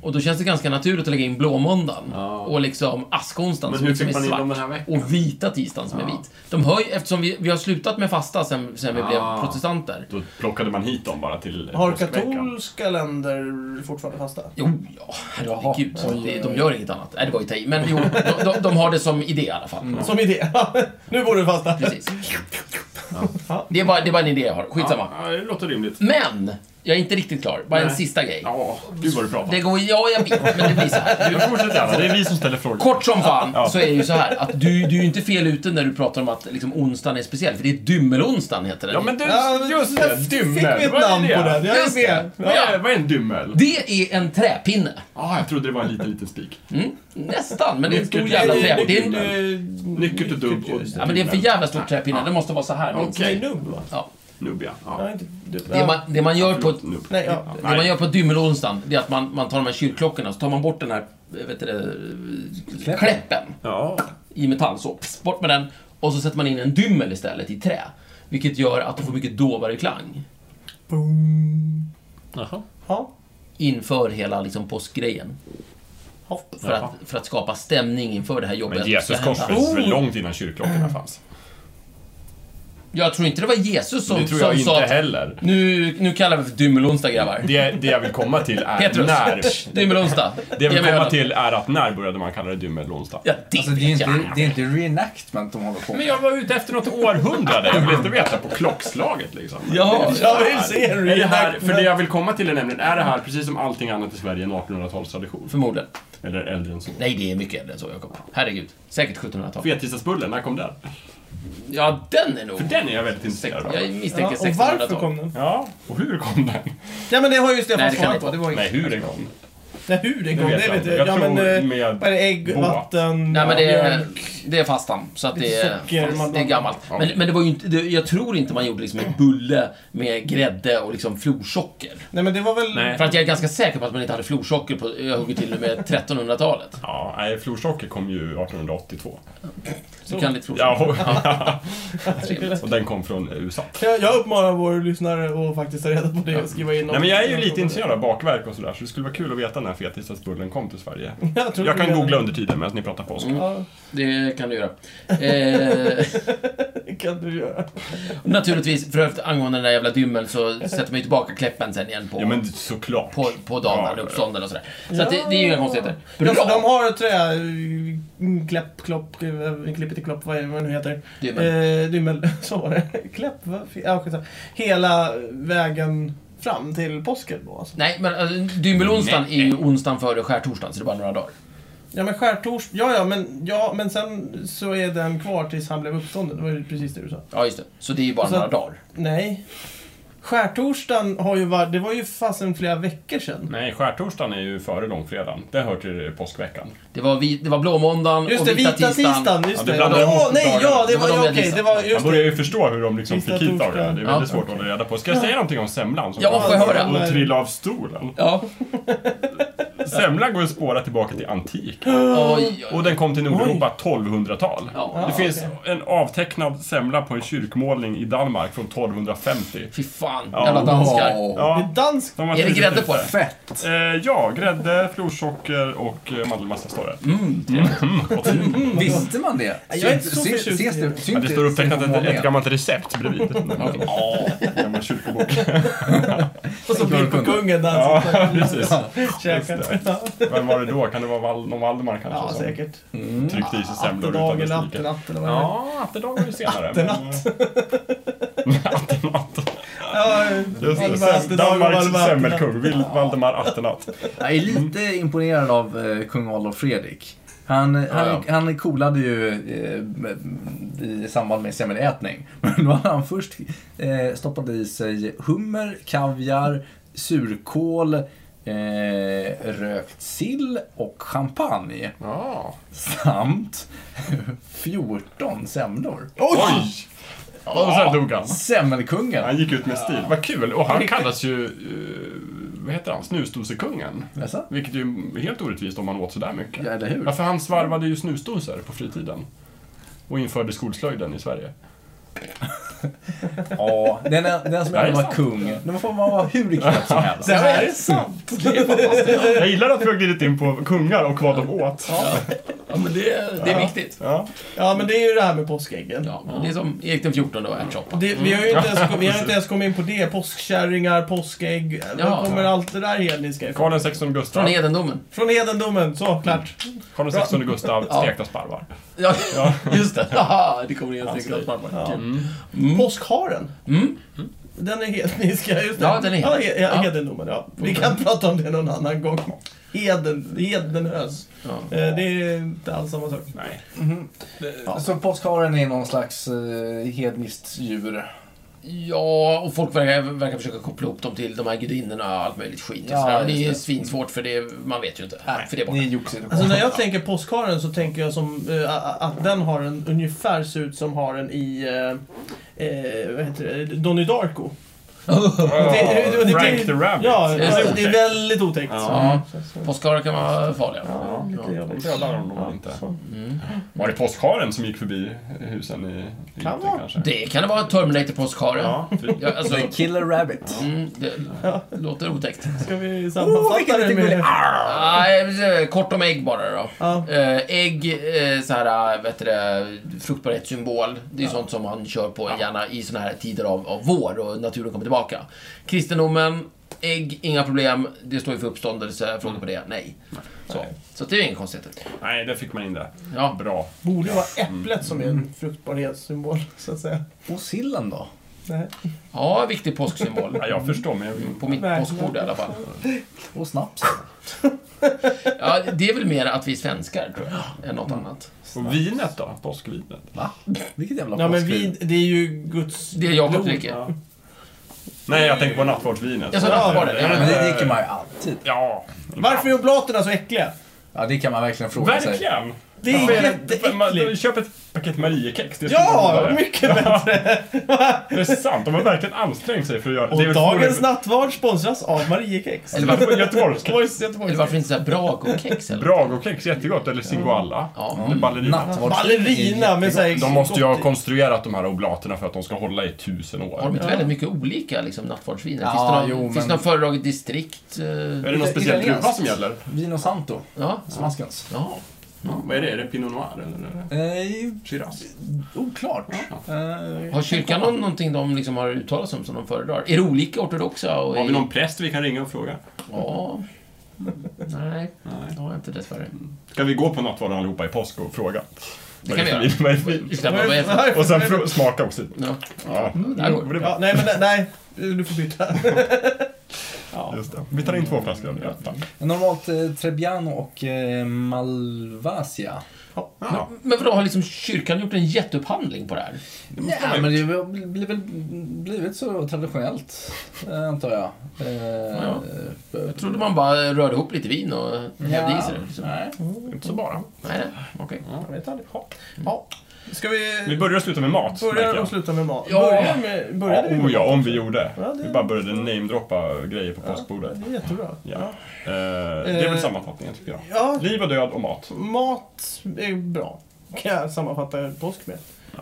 Speaker 2: Och då känns det ganska naturligt att lägga in blåmåndagen och liksom askonsdagen
Speaker 4: Men
Speaker 2: som
Speaker 4: hur
Speaker 2: liksom är
Speaker 4: fick man in dem den här
Speaker 2: svart
Speaker 4: veckan?
Speaker 2: och vita tisdagen som är vit. De hör ju, eftersom vi, vi har slutat med fasta sen, sen vi blev protestanter.
Speaker 4: Då plockade man hit dem bara till
Speaker 1: Har
Speaker 4: påskveckan.
Speaker 1: katolska länder fortfarande fasta?
Speaker 2: Jo, ja, herregud.
Speaker 3: Jaha.
Speaker 2: Det- De gör inget annat. Nej, det var ju ta i.
Speaker 4: [LAUGHS]
Speaker 2: Men jo, de, de, de har det som idé i alla fall.
Speaker 4: Mm.
Speaker 1: Som idé. [LAUGHS] nu borde du fasta.
Speaker 2: Precis. Det, är bara, det är bara en idé jag har. Skitsamma.
Speaker 4: Ja, det låter rimligt.
Speaker 2: Men, Jag är inte riktigt klar. Bara en
Speaker 1: Nej.
Speaker 2: sista grej.
Speaker 4: Ja, gud vad du pratar.
Speaker 2: Det går... Ja, jag vet, men det blir så här.
Speaker 4: Du fortsätter gärna, det är vi som ställer frågor.
Speaker 2: Kort som fan
Speaker 4: Ja.
Speaker 2: så är det ju så här att du, du är ju inte fel ute när du pratar om att liksom, onsdagen är speciell. För det är dymmelonsdagen heter den.
Speaker 4: Ja, men du,
Speaker 1: Ja,
Speaker 4: just
Speaker 1: jag
Speaker 4: det, dymmel.
Speaker 1: Fick vi ett
Speaker 4: Vad är
Speaker 1: namn
Speaker 4: det?
Speaker 1: på den? Jag är
Speaker 2: Just
Speaker 1: med.
Speaker 2: det.
Speaker 4: Vad är, vad är en dymmel?
Speaker 2: Det är en träpinne. Mm,
Speaker 4: Ah, jag trodde det var en liten, liten spik.
Speaker 2: Nästan, men det är en stor
Speaker 4: Nyckelträd.
Speaker 2: jävla
Speaker 4: Det är
Speaker 2: träpinne. Det är en,
Speaker 1: Eh,
Speaker 4: Nyckel till dubb och
Speaker 2: ja, men det är en för jävla stor träpinne. Den måste vara så här minst.
Speaker 4: Okej.
Speaker 1: Det är nubb va?
Speaker 2: Ja.
Speaker 4: nubb, ja. ja.
Speaker 1: Nej, inte dubb.
Speaker 2: Det, man, det man gör på...
Speaker 4: Förlåt, nubb.
Speaker 1: Nej, ja.
Speaker 2: Det man gör på dymmelonsdagen, det är att man, man tar de här kyrkklockorna, så tar man bort den här eh, vet du, det,
Speaker 3: Kläppen.
Speaker 2: kläppen
Speaker 4: Ja.
Speaker 2: i metall. Så, pss, bort med den. Och så sätter man in en dymmel istället i trä. Vilket gör att du får mycket dovare klang.
Speaker 1: Boom.
Speaker 4: Jaha.
Speaker 1: Ja.
Speaker 2: Inför hela liksom, påskgrejen.
Speaker 1: Hopp.
Speaker 2: För
Speaker 4: Jaha.
Speaker 2: att, för att skapa stämning inför det här jobbet.
Speaker 4: Men Jesus korsfästes
Speaker 2: Oh!
Speaker 4: väl långt innan kyrkklockorna fanns?
Speaker 2: Jag tror inte det var Jesus som,
Speaker 4: Det tror jag
Speaker 2: som
Speaker 4: inte
Speaker 2: sa att,
Speaker 4: heller.
Speaker 2: nu, nu kallar vi för dymmelonsdag grabbar.
Speaker 4: Det, det jag vill komma till är
Speaker 2: Petrus.
Speaker 4: när...
Speaker 2: Dymmelonsdag.
Speaker 4: [LAUGHS] Det jag
Speaker 2: Ge mig
Speaker 4: vill komma
Speaker 2: ölen.
Speaker 4: till är att när började man kalla det dymmelonsdag?
Speaker 2: Ja, det
Speaker 3: Alltså, det är ju
Speaker 2: vet jag.
Speaker 3: inte, det är inte reenactment de håller på
Speaker 4: Men
Speaker 3: med.
Speaker 4: jag var ute efter något århundrade. Jag vill inte veta på klockslaget liksom.
Speaker 2: Ja,
Speaker 1: Jag vill se en
Speaker 4: Är det här,
Speaker 1: reenactment.
Speaker 4: för det jag vill komma till är nämligen, är det här precis som allting annat i Sverige en 1800-talstradition?
Speaker 2: förmodligen.
Speaker 4: Eller äldre än så?
Speaker 2: Nej, det är mycket äldre än så, Jakob. Herregud. Säkert 1700-tal.
Speaker 4: Fettisdagsbullen, när kom den?
Speaker 2: Ja, den är nog...
Speaker 4: För den är jag väldigt intresserad av.
Speaker 2: Jag
Speaker 1: Ja,
Speaker 2: misstänker
Speaker 1: och varför
Speaker 2: 1600-tal.
Speaker 1: kom den?
Speaker 4: Ja, och hur kom den?
Speaker 1: Ja men det har ju Stefan
Speaker 2: Nej, det kan
Speaker 1: svarat
Speaker 2: inte
Speaker 1: på. Det var
Speaker 4: Nej,
Speaker 1: inget.
Speaker 4: hur den kom.
Speaker 1: Nej, hur den
Speaker 4: Det
Speaker 1: kom, det
Speaker 4: vet jag
Speaker 1: vet
Speaker 4: inte.
Speaker 1: jag
Speaker 4: Jag
Speaker 1: Ja men...
Speaker 4: tror
Speaker 1: eh,
Speaker 4: med
Speaker 1: Vad är det? Ägg,
Speaker 4: båt.
Speaker 1: vatten,
Speaker 2: Nej men det är,
Speaker 1: mjölk.
Speaker 2: det är fastan, så att det är,
Speaker 1: Socker, man-
Speaker 2: det är gammalt.
Speaker 4: Ja.
Speaker 2: Men, men det var ju inte, det, jag tror inte man gjorde liksom en bulle med grädde och liksom florsocker.
Speaker 1: Nej men det var väl...
Speaker 4: Nej.
Speaker 2: För att jag är ganska säker på att man inte hade florsocker på, jag hugger till med 1300-talet.
Speaker 4: Ja, nej, florsocker kom ju 1882.
Speaker 2: Så kan lite florsocker.
Speaker 4: Ja, och,
Speaker 2: Trevligt. [LAUGHS]
Speaker 4: och den kom från USA.
Speaker 1: Jag, jag uppmanar vår lyssnare att faktiskt ta reda på det och skriva in
Speaker 4: Nej, men jag är ju
Speaker 1: något-
Speaker 4: lite intresserad av bakverk och sådär, så det skulle vara kul att veta när fettisdagsbullen kom till Sverige.
Speaker 1: [LAUGHS] Jag, tror
Speaker 4: Jag
Speaker 1: vi
Speaker 4: kan
Speaker 1: redan-
Speaker 4: googla under tiden medan ni pratar
Speaker 2: Mm.
Speaker 4: påsk.
Speaker 1: Ja,
Speaker 2: Det kan du göra. Eh,
Speaker 1: det kan du göra.
Speaker 2: naturligtvis, för övrigt angående den där jävla dymmeln så sätter man ju tillbaka kläppen sen igen på,
Speaker 4: Ja, men såklart.
Speaker 2: på, på dagen,
Speaker 4: Ja, ja, ja.
Speaker 2: uppståndeln och sådär. Så att det, det är ju inga konstigheter.
Speaker 1: Ja, för Alltså, de
Speaker 2: Bra!
Speaker 1: har trä... mm, Kläpp, klopp, eh, klippetiklopp, vad är det vad det nu heter?
Speaker 2: Dymmel.
Speaker 1: Eh, dymmel, [LAUGHS] så var det. Kläpp, va? F- ja, skitsamma. Hela vägen fram till påsken då alltså.
Speaker 2: Nej, men alltså, dymmelonsdagen är ju onsdagen före skärtorsdagen, så det är bara några dagar.
Speaker 1: Ja men skärtors... Ja ja men, ja men sen så är den kvar tills han blev uppstånden. Det var ju precis det du sa.
Speaker 2: Ja, just det. Så det är ju bara
Speaker 1: Och sen-
Speaker 2: några dagar.
Speaker 1: Nej. Skärtorsdagen har ju varit... Det var ju fasen flera veckor sedan.
Speaker 4: Nej, skärtorsdagen är ju före långfredagen. Det hör till påskveckan.
Speaker 2: Det var, vi, det var blåmåndagen
Speaker 1: Just
Speaker 2: och
Speaker 1: det,
Speaker 2: vita, tisdagen.
Speaker 4: Ja,
Speaker 1: Just
Speaker 4: det
Speaker 1: det. Åh
Speaker 4: blandar ihop
Speaker 1: nej,
Speaker 4: dagarna.
Speaker 1: ja det
Speaker 2: Det var
Speaker 1: var... Ja,
Speaker 2: de jag
Speaker 1: okej, det
Speaker 2: listat.
Speaker 1: var
Speaker 4: Man
Speaker 1: just
Speaker 4: börjar
Speaker 1: det.
Speaker 4: ju förstå hur de liksom
Speaker 1: Sista
Speaker 4: fick hit av det.
Speaker 1: torsdagen.
Speaker 4: Det är väldigt
Speaker 2: Ja.
Speaker 4: svårt att hålla reda på. Ska jag säga någonting om semlan som
Speaker 2: Ja,
Speaker 4: kom
Speaker 2: får jag höra?
Speaker 4: och trilla av stolen?
Speaker 2: Ja.
Speaker 4: Semlan går att spåra tillbaka till antik.
Speaker 2: Oj, oj.
Speaker 4: Och den kom till Nordeuropa 1200-tal.
Speaker 2: Ja.
Speaker 4: Det finns en avtecknad semla på en kyrkmålning i Danmark från 1250.
Speaker 2: Fy fan,
Speaker 4: Ja.
Speaker 2: jävla danskar.
Speaker 3: Åh,
Speaker 1: Det
Speaker 4: Ja,
Speaker 1: är dansk...
Speaker 4: de har
Speaker 2: Är det
Speaker 4: tydligt-
Speaker 2: grädde på den?
Speaker 3: Fett!
Speaker 4: Eh, ja, grädde, florsocker och eh, mandelmassa står det.
Speaker 2: Mm,
Speaker 4: Mm.
Speaker 3: Visste man det?
Speaker 1: Jag är inte
Speaker 3: Syns-
Speaker 1: så
Speaker 3: syns-
Speaker 1: förtjust i
Speaker 3: ses
Speaker 1: det.
Speaker 3: syns
Speaker 4: Ja, det står upptecknat
Speaker 3: syns
Speaker 4: ett,
Speaker 3: på
Speaker 4: ett gammalt
Speaker 1: [LAUGHS]
Speaker 4: recept bredvid. Ja, gammal kyrkobok.
Speaker 1: Och så bild på kungen där han
Speaker 4: [LAUGHS]
Speaker 1: [LAUGHS]
Speaker 4: Ja,
Speaker 1: sitter och
Speaker 4: precis.
Speaker 1: käkar.
Speaker 4: Just
Speaker 1: Ja,
Speaker 4: Vem var det då? Kan det vara Val- någon Valdemar kanske?
Speaker 1: ja
Speaker 4: som
Speaker 1: säkert.
Speaker 4: tryckte i sig semlor utan
Speaker 1: Attedag
Speaker 4: dess
Speaker 1: eller
Speaker 4: like?
Speaker 1: attenatt eller vad det är.
Speaker 4: Ja, Attedag var ju senare.
Speaker 1: Attenatt.
Speaker 4: men- Attenatt.
Speaker 1: [LAUGHS] Ja,
Speaker 4: Just det.
Speaker 1: Valdemar
Speaker 4: Sem-
Speaker 1: Attedag och
Speaker 4: Danmarks
Speaker 1: Valdemar
Speaker 4: semmelkung, Vil- Valdemar Attenatt.
Speaker 3: Jag är lite imponerad av eh, kung Adolf Fredrik. Han, han,
Speaker 4: Mm. ja.
Speaker 3: han coolade ju eh, i samband med semmelätning. [LAUGHS] Men då hade han först eh, stoppat i sig hummer, kaviar, surkål, eh, rökt sill och champagne.
Speaker 4: Ja.
Speaker 3: Samt 14 semlor.
Speaker 1: Oj!
Speaker 4: Och sen dog han.
Speaker 3: Semmelkungen.
Speaker 4: Han gick ut med stil. Vad kul! Och han kallas ju... eh, vad heter han? Snusdosekungen.
Speaker 3: Jaså?
Speaker 4: Vilket ju är helt orättvist om man åt sådär mycket.
Speaker 3: Ja, eller hur?
Speaker 4: Varför han svarvade ju snusdosor på fritiden. Och införde skolslöjden i Sverige.
Speaker 3: Ja, den, den som
Speaker 4: Det här är
Speaker 3: ändå var
Speaker 4: sant.
Speaker 3: kung. Den får man vara hur knäpp som helst.
Speaker 1: Det här är sant! [LAUGHS]
Speaker 4: Jag gillar att vi har glidit in på kungar och vad de åt.
Speaker 2: Ja, men det, det är viktigt.
Speaker 4: Ja.
Speaker 1: Ja, men det är ju det här med påskäggen.
Speaker 2: Ja, Mm. det är som Erik den 14 och ärtsoppa.
Speaker 1: Det, vi har ju inte ens, vi har inte ens kommit in på det. Påskkärringar, påskägg.
Speaker 2: Ja.
Speaker 1: Var kommer allt det där hedniska ifrån?
Speaker 4: Karl XVI Gustav.
Speaker 2: Från hedendomen.
Speaker 1: Från hedendomen, så klart.
Speaker 2: Mm.
Speaker 4: Karl XVI Gustav, stekta sparvar.
Speaker 2: Ja, [LAUGHS] just det. Mm. Haha, det kommer igen.
Speaker 4: Ja,
Speaker 2: säkert.
Speaker 1: Påskharen. Mm. Den är hedniska, just det.
Speaker 2: Mm. Ja, den är
Speaker 1: ja,
Speaker 2: hednisk.
Speaker 1: he- ja.
Speaker 2: Ja. Mm.
Speaker 1: Hedendomen, ja. Vi kan prata om det någon annan gång. Heden, hedenhös.
Speaker 2: Ja.
Speaker 1: Eh, Det är inte alls samma sak.
Speaker 4: Nej.
Speaker 3: Så påskharen är någon slags eh, hedniskt djur?
Speaker 2: Ja, och folk verkar, verkar försöka koppla upp dem till de här gudinnorna och allt möjligt skit.
Speaker 3: Ja,
Speaker 2: Ja, sådär. Och det
Speaker 3: just
Speaker 2: är
Speaker 3: det.
Speaker 2: svinsvårt för det, man vet ju inte. för det är borta.
Speaker 3: Ni är joxer.
Speaker 1: Alltså när jag tänker påskharen så tänker jag som eh, a- att den har en ungefär ser ut som haren i eh, eh, vad heter det? Donnie Darko. det- det- det-
Speaker 4: Frank the Rabbit.
Speaker 1: Ja,
Speaker 2: det är
Speaker 1: det är väldigt otäckt.
Speaker 2: Ja.
Speaker 1: Så- så-
Speaker 2: Påskharar kan vara farliga.
Speaker 1: Ja, lite jobbigt.
Speaker 4: Dödar de dem inte.
Speaker 1: så.
Speaker 4: Var det påskharen som gick förbi husen i i
Speaker 1: Kan
Speaker 4: Egypten
Speaker 1: vara.
Speaker 4: kanske?
Speaker 2: Det kan vara Terminator-påskhare. Ja.
Speaker 4: Ja, typ. fint.
Speaker 2: alltså,
Speaker 3: The Killer Rabbit.
Speaker 2: mm, det låter otäckt.
Speaker 1: Ska vi
Speaker 3: Oh,
Speaker 1: sammanfatta
Speaker 3: vilken
Speaker 1: det
Speaker 3: liten gullig.
Speaker 1: med...
Speaker 2: Nej, eh, kort om ägg bara då.
Speaker 1: Ja.
Speaker 2: Eh, Ägg, eh, så här, eh, vet du det, fruktbarhetssymbol. Det är sånt som man kör på gärna i såna här tider av, av vår och naturen kommer tillbaka. Kristendomen, ägg, inga problem. Det står ju för uppståndelse. Fråga på det? Nej. Så, så det är ju inget konstigt.
Speaker 4: Nej, där fick man in det.
Speaker 2: Ja.
Speaker 4: Bra.
Speaker 1: Borde ju vara äpplet som är en fruktbarhetssymbol, [LAUGHS] så att säga.
Speaker 3: Och sillen då?
Speaker 1: Nej.
Speaker 2: ja, viktig påsksymbol.
Speaker 4: Ja, jag förstår, men jag vill...
Speaker 2: På mitt
Speaker 1: Nej.
Speaker 2: påskbord i alla fall.
Speaker 3: Och snaps?
Speaker 2: Ja, det är väl mer att vi är svenskar, tror jag, än något annat.
Speaker 4: Och vinet då? Påskvinet?
Speaker 3: Va? Vilket jävla
Speaker 1: Ja, men
Speaker 3: påskvin.
Speaker 1: vi, det är ju Guds
Speaker 2: Det är Jakob
Speaker 1: blod.
Speaker 2: dricker.
Speaker 4: Nej, jag tänker på nattvardsvinet.
Speaker 2: Jag sa nattvarden,
Speaker 3: Men
Speaker 2: ja.
Speaker 3: det dricker man ju alltid.
Speaker 4: Ja,
Speaker 1: Varför är oblaterna så äckliga?
Speaker 3: Ja, det kan man verkligen fråga sig.
Speaker 4: verkligen!
Speaker 1: Det är
Speaker 4: Men- man- man-
Speaker 1: jätteäckligt.
Speaker 4: Köp ett paket Mariekex. Det skulle vara [LAUGHS]
Speaker 1: Ja,
Speaker 4: godare.
Speaker 1: mycket bättre.
Speaker 4: Det är sant, de har verkligen ansträngt sig för att göra det.
Speaker 1: Och
Speaker 4: är väl
Speaker 1: dagens
Speaker 4: förmodligen-
Speaker 1: nattvard sponsras av Mariekex.
Speaker 2: Eller varför,
Speaker 4: Göteborgs
Speaker 1: Boys,
Speaker 2: eller
Speaker 1: Göteborg.
Speaker 2: varför inte så här Brago-kex? eller?
Speaker 4: Bragokex, jättegott. Eller Singoalla.
Speaker 2: Ja.
Speaker 4: Eller Ballerina.
Speaker 3: Nattvardsvin
Speaker 1: Ballerina med såhär...
Speaker 4: De måste ju ha konstruerat de här oblaterna för att de ska hålla i tusen
Speaker 2: Har de
Speaker 4: år.
Speaker 2: inte väldigt mycket olika liksom, nattvardsviner?
Speaker 3: Ja,
Speaker 2: finns det någon,
Speaker 3: jo, men-
Speaker 2: finns det någon föredraget distrikt? eh,
Speaker 4: Är det någon speciell
Speaker 3: Italienskt.
Speaker 4: druva som gäller?
Speaker 3: Vino Santo.
Speaker 2: Ja.
Speaker 3: Smaskens.
Speaker 2: ja.
Speaker 4: Vad är det? Är det Pinot Noir eller?
Speaker 3: Eh,
Speaker 4: Shiraz?
Speaker 3: oklart. Eh,
Speaker 2: Har kyrkan någon, någonting de liksom har uttalat sig om som de föredrar? Är det olika ortodoxa? Och
Speaker 4: Har
Speaker 2: är-
Speaker 4: vi någon präst vi kan ringa och fråga?
Speaker 2: Ja. Nej,
Speaker 4: Nej.
Speaker 2: det har jag inte dessvärre.
Speaker 4: Ska vi gå på nattvarden allihopa i påsk och fråga?
Speaker 2: Det kan vi göra.
Speaker 4: Vad är det för vin?
Speaker 2: Ursäkta, vad är det? Mm.
Speaker 4: Och sen fro- smaka också.
Speaker 2: Ja,
Speaker 4: Ja,
Speaker 2: där går det.
Speaker 4: det
Speaker 1: Ja,
Speaker 4: bra.
Speaker 1: nej, men nej. Du får byta.
Speaker 4: Just det. Vi tar in två flaskor öl i alla fall.
Speaker 3: normalt eh, Trebbiano och eh, Malvasia.
Speaker 4: Ja.
Speaker 2: Men vadå, har liksom kyrkan gjort en jätteupphandling på det här?
Speaker 3: Ja, men det har bl- blir väl blivit så traditionellt, eh, antar jag. Eh,
Speaker 2: Ja.
Speaker 3: eh,
Speaker 2: Jag trodde man bara rörde ihop lite vin och hävde i sig det. Liksom.
Speaker 3: Nej.
Speaker 4: Inte så bara.
Speaker 2: Nej, nej, okej.
Speaker 1: Jag vet aldrig. Ja. Ska vi...
Speaker 4: Vi börjar och slutar med mat. märker
Speaker 1: Börjar
Speaker 4: jag.
Speaker 1: och slutar med mat.
Speaker 2: Ja.
Speaker 1: Börjar med...
Speaker 4: Ja,
Speaker 1: Började vi
Speaker 4: oh
Speaker 1: med
Speaker 4: ja, om vi gjorde.
Speaker 1: Ja, det-
Speaker 4: Vi bara började namedroppa grejer på
Speaker 1: mat?
Speaker 4: påskbordet.
Speaker 1: Det är jättebra.
Speaker 4: Ja. Eh, det är väl
Speaker 1: Eh.
Speaker 4: sammanfattningen tycker jag.
Speaker 1: Ja,
Speaker 4: Liv och död och mat.
Speaker 1: mat är bra. Kan jag sammanfatta påsk med.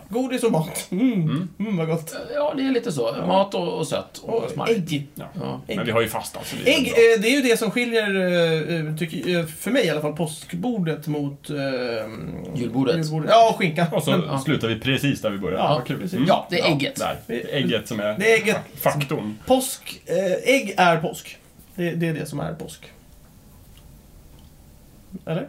Speaker 1: Godis och mat. Mm, mm vad gott.
Speaker 2: Ja, det är lite så. Mat och, och sött och
Speaker 1: Och
Speaker 2: smarrigt.
Speaker 1: ägg.
Speaker 4: Ja.
Speaker 2: Ja.
Speaker 4: Men vi har ju fastat. så det är
Speaker 1: Ägg,
Speaker 4: bra.
Speaker 1: eh, det är ju det som skiljer, eh, eh, tycker, eh, för mig i alla fall, påskbordet mot... Eh,
Speaker 2: Julbordet.
Speaker 1: Ja, och skinkan.
Speaker 4: Och så
Speaker 2: ja.
Speaker 4: slutar vi precis där vi började.
Speaker 1: Ja,
Speaker 4: Vad kul.
Speaker 1: precis.
Speaker 2: Ja, det är ägget.
Speaker 4: Där. Det är Ägget som är,
Speaker 1: Det är ägget.
Speaker 4: faktorn.
Speaker 1: Påsk, eh, ägg är påsk. Det, det är det som är påsk. Eller?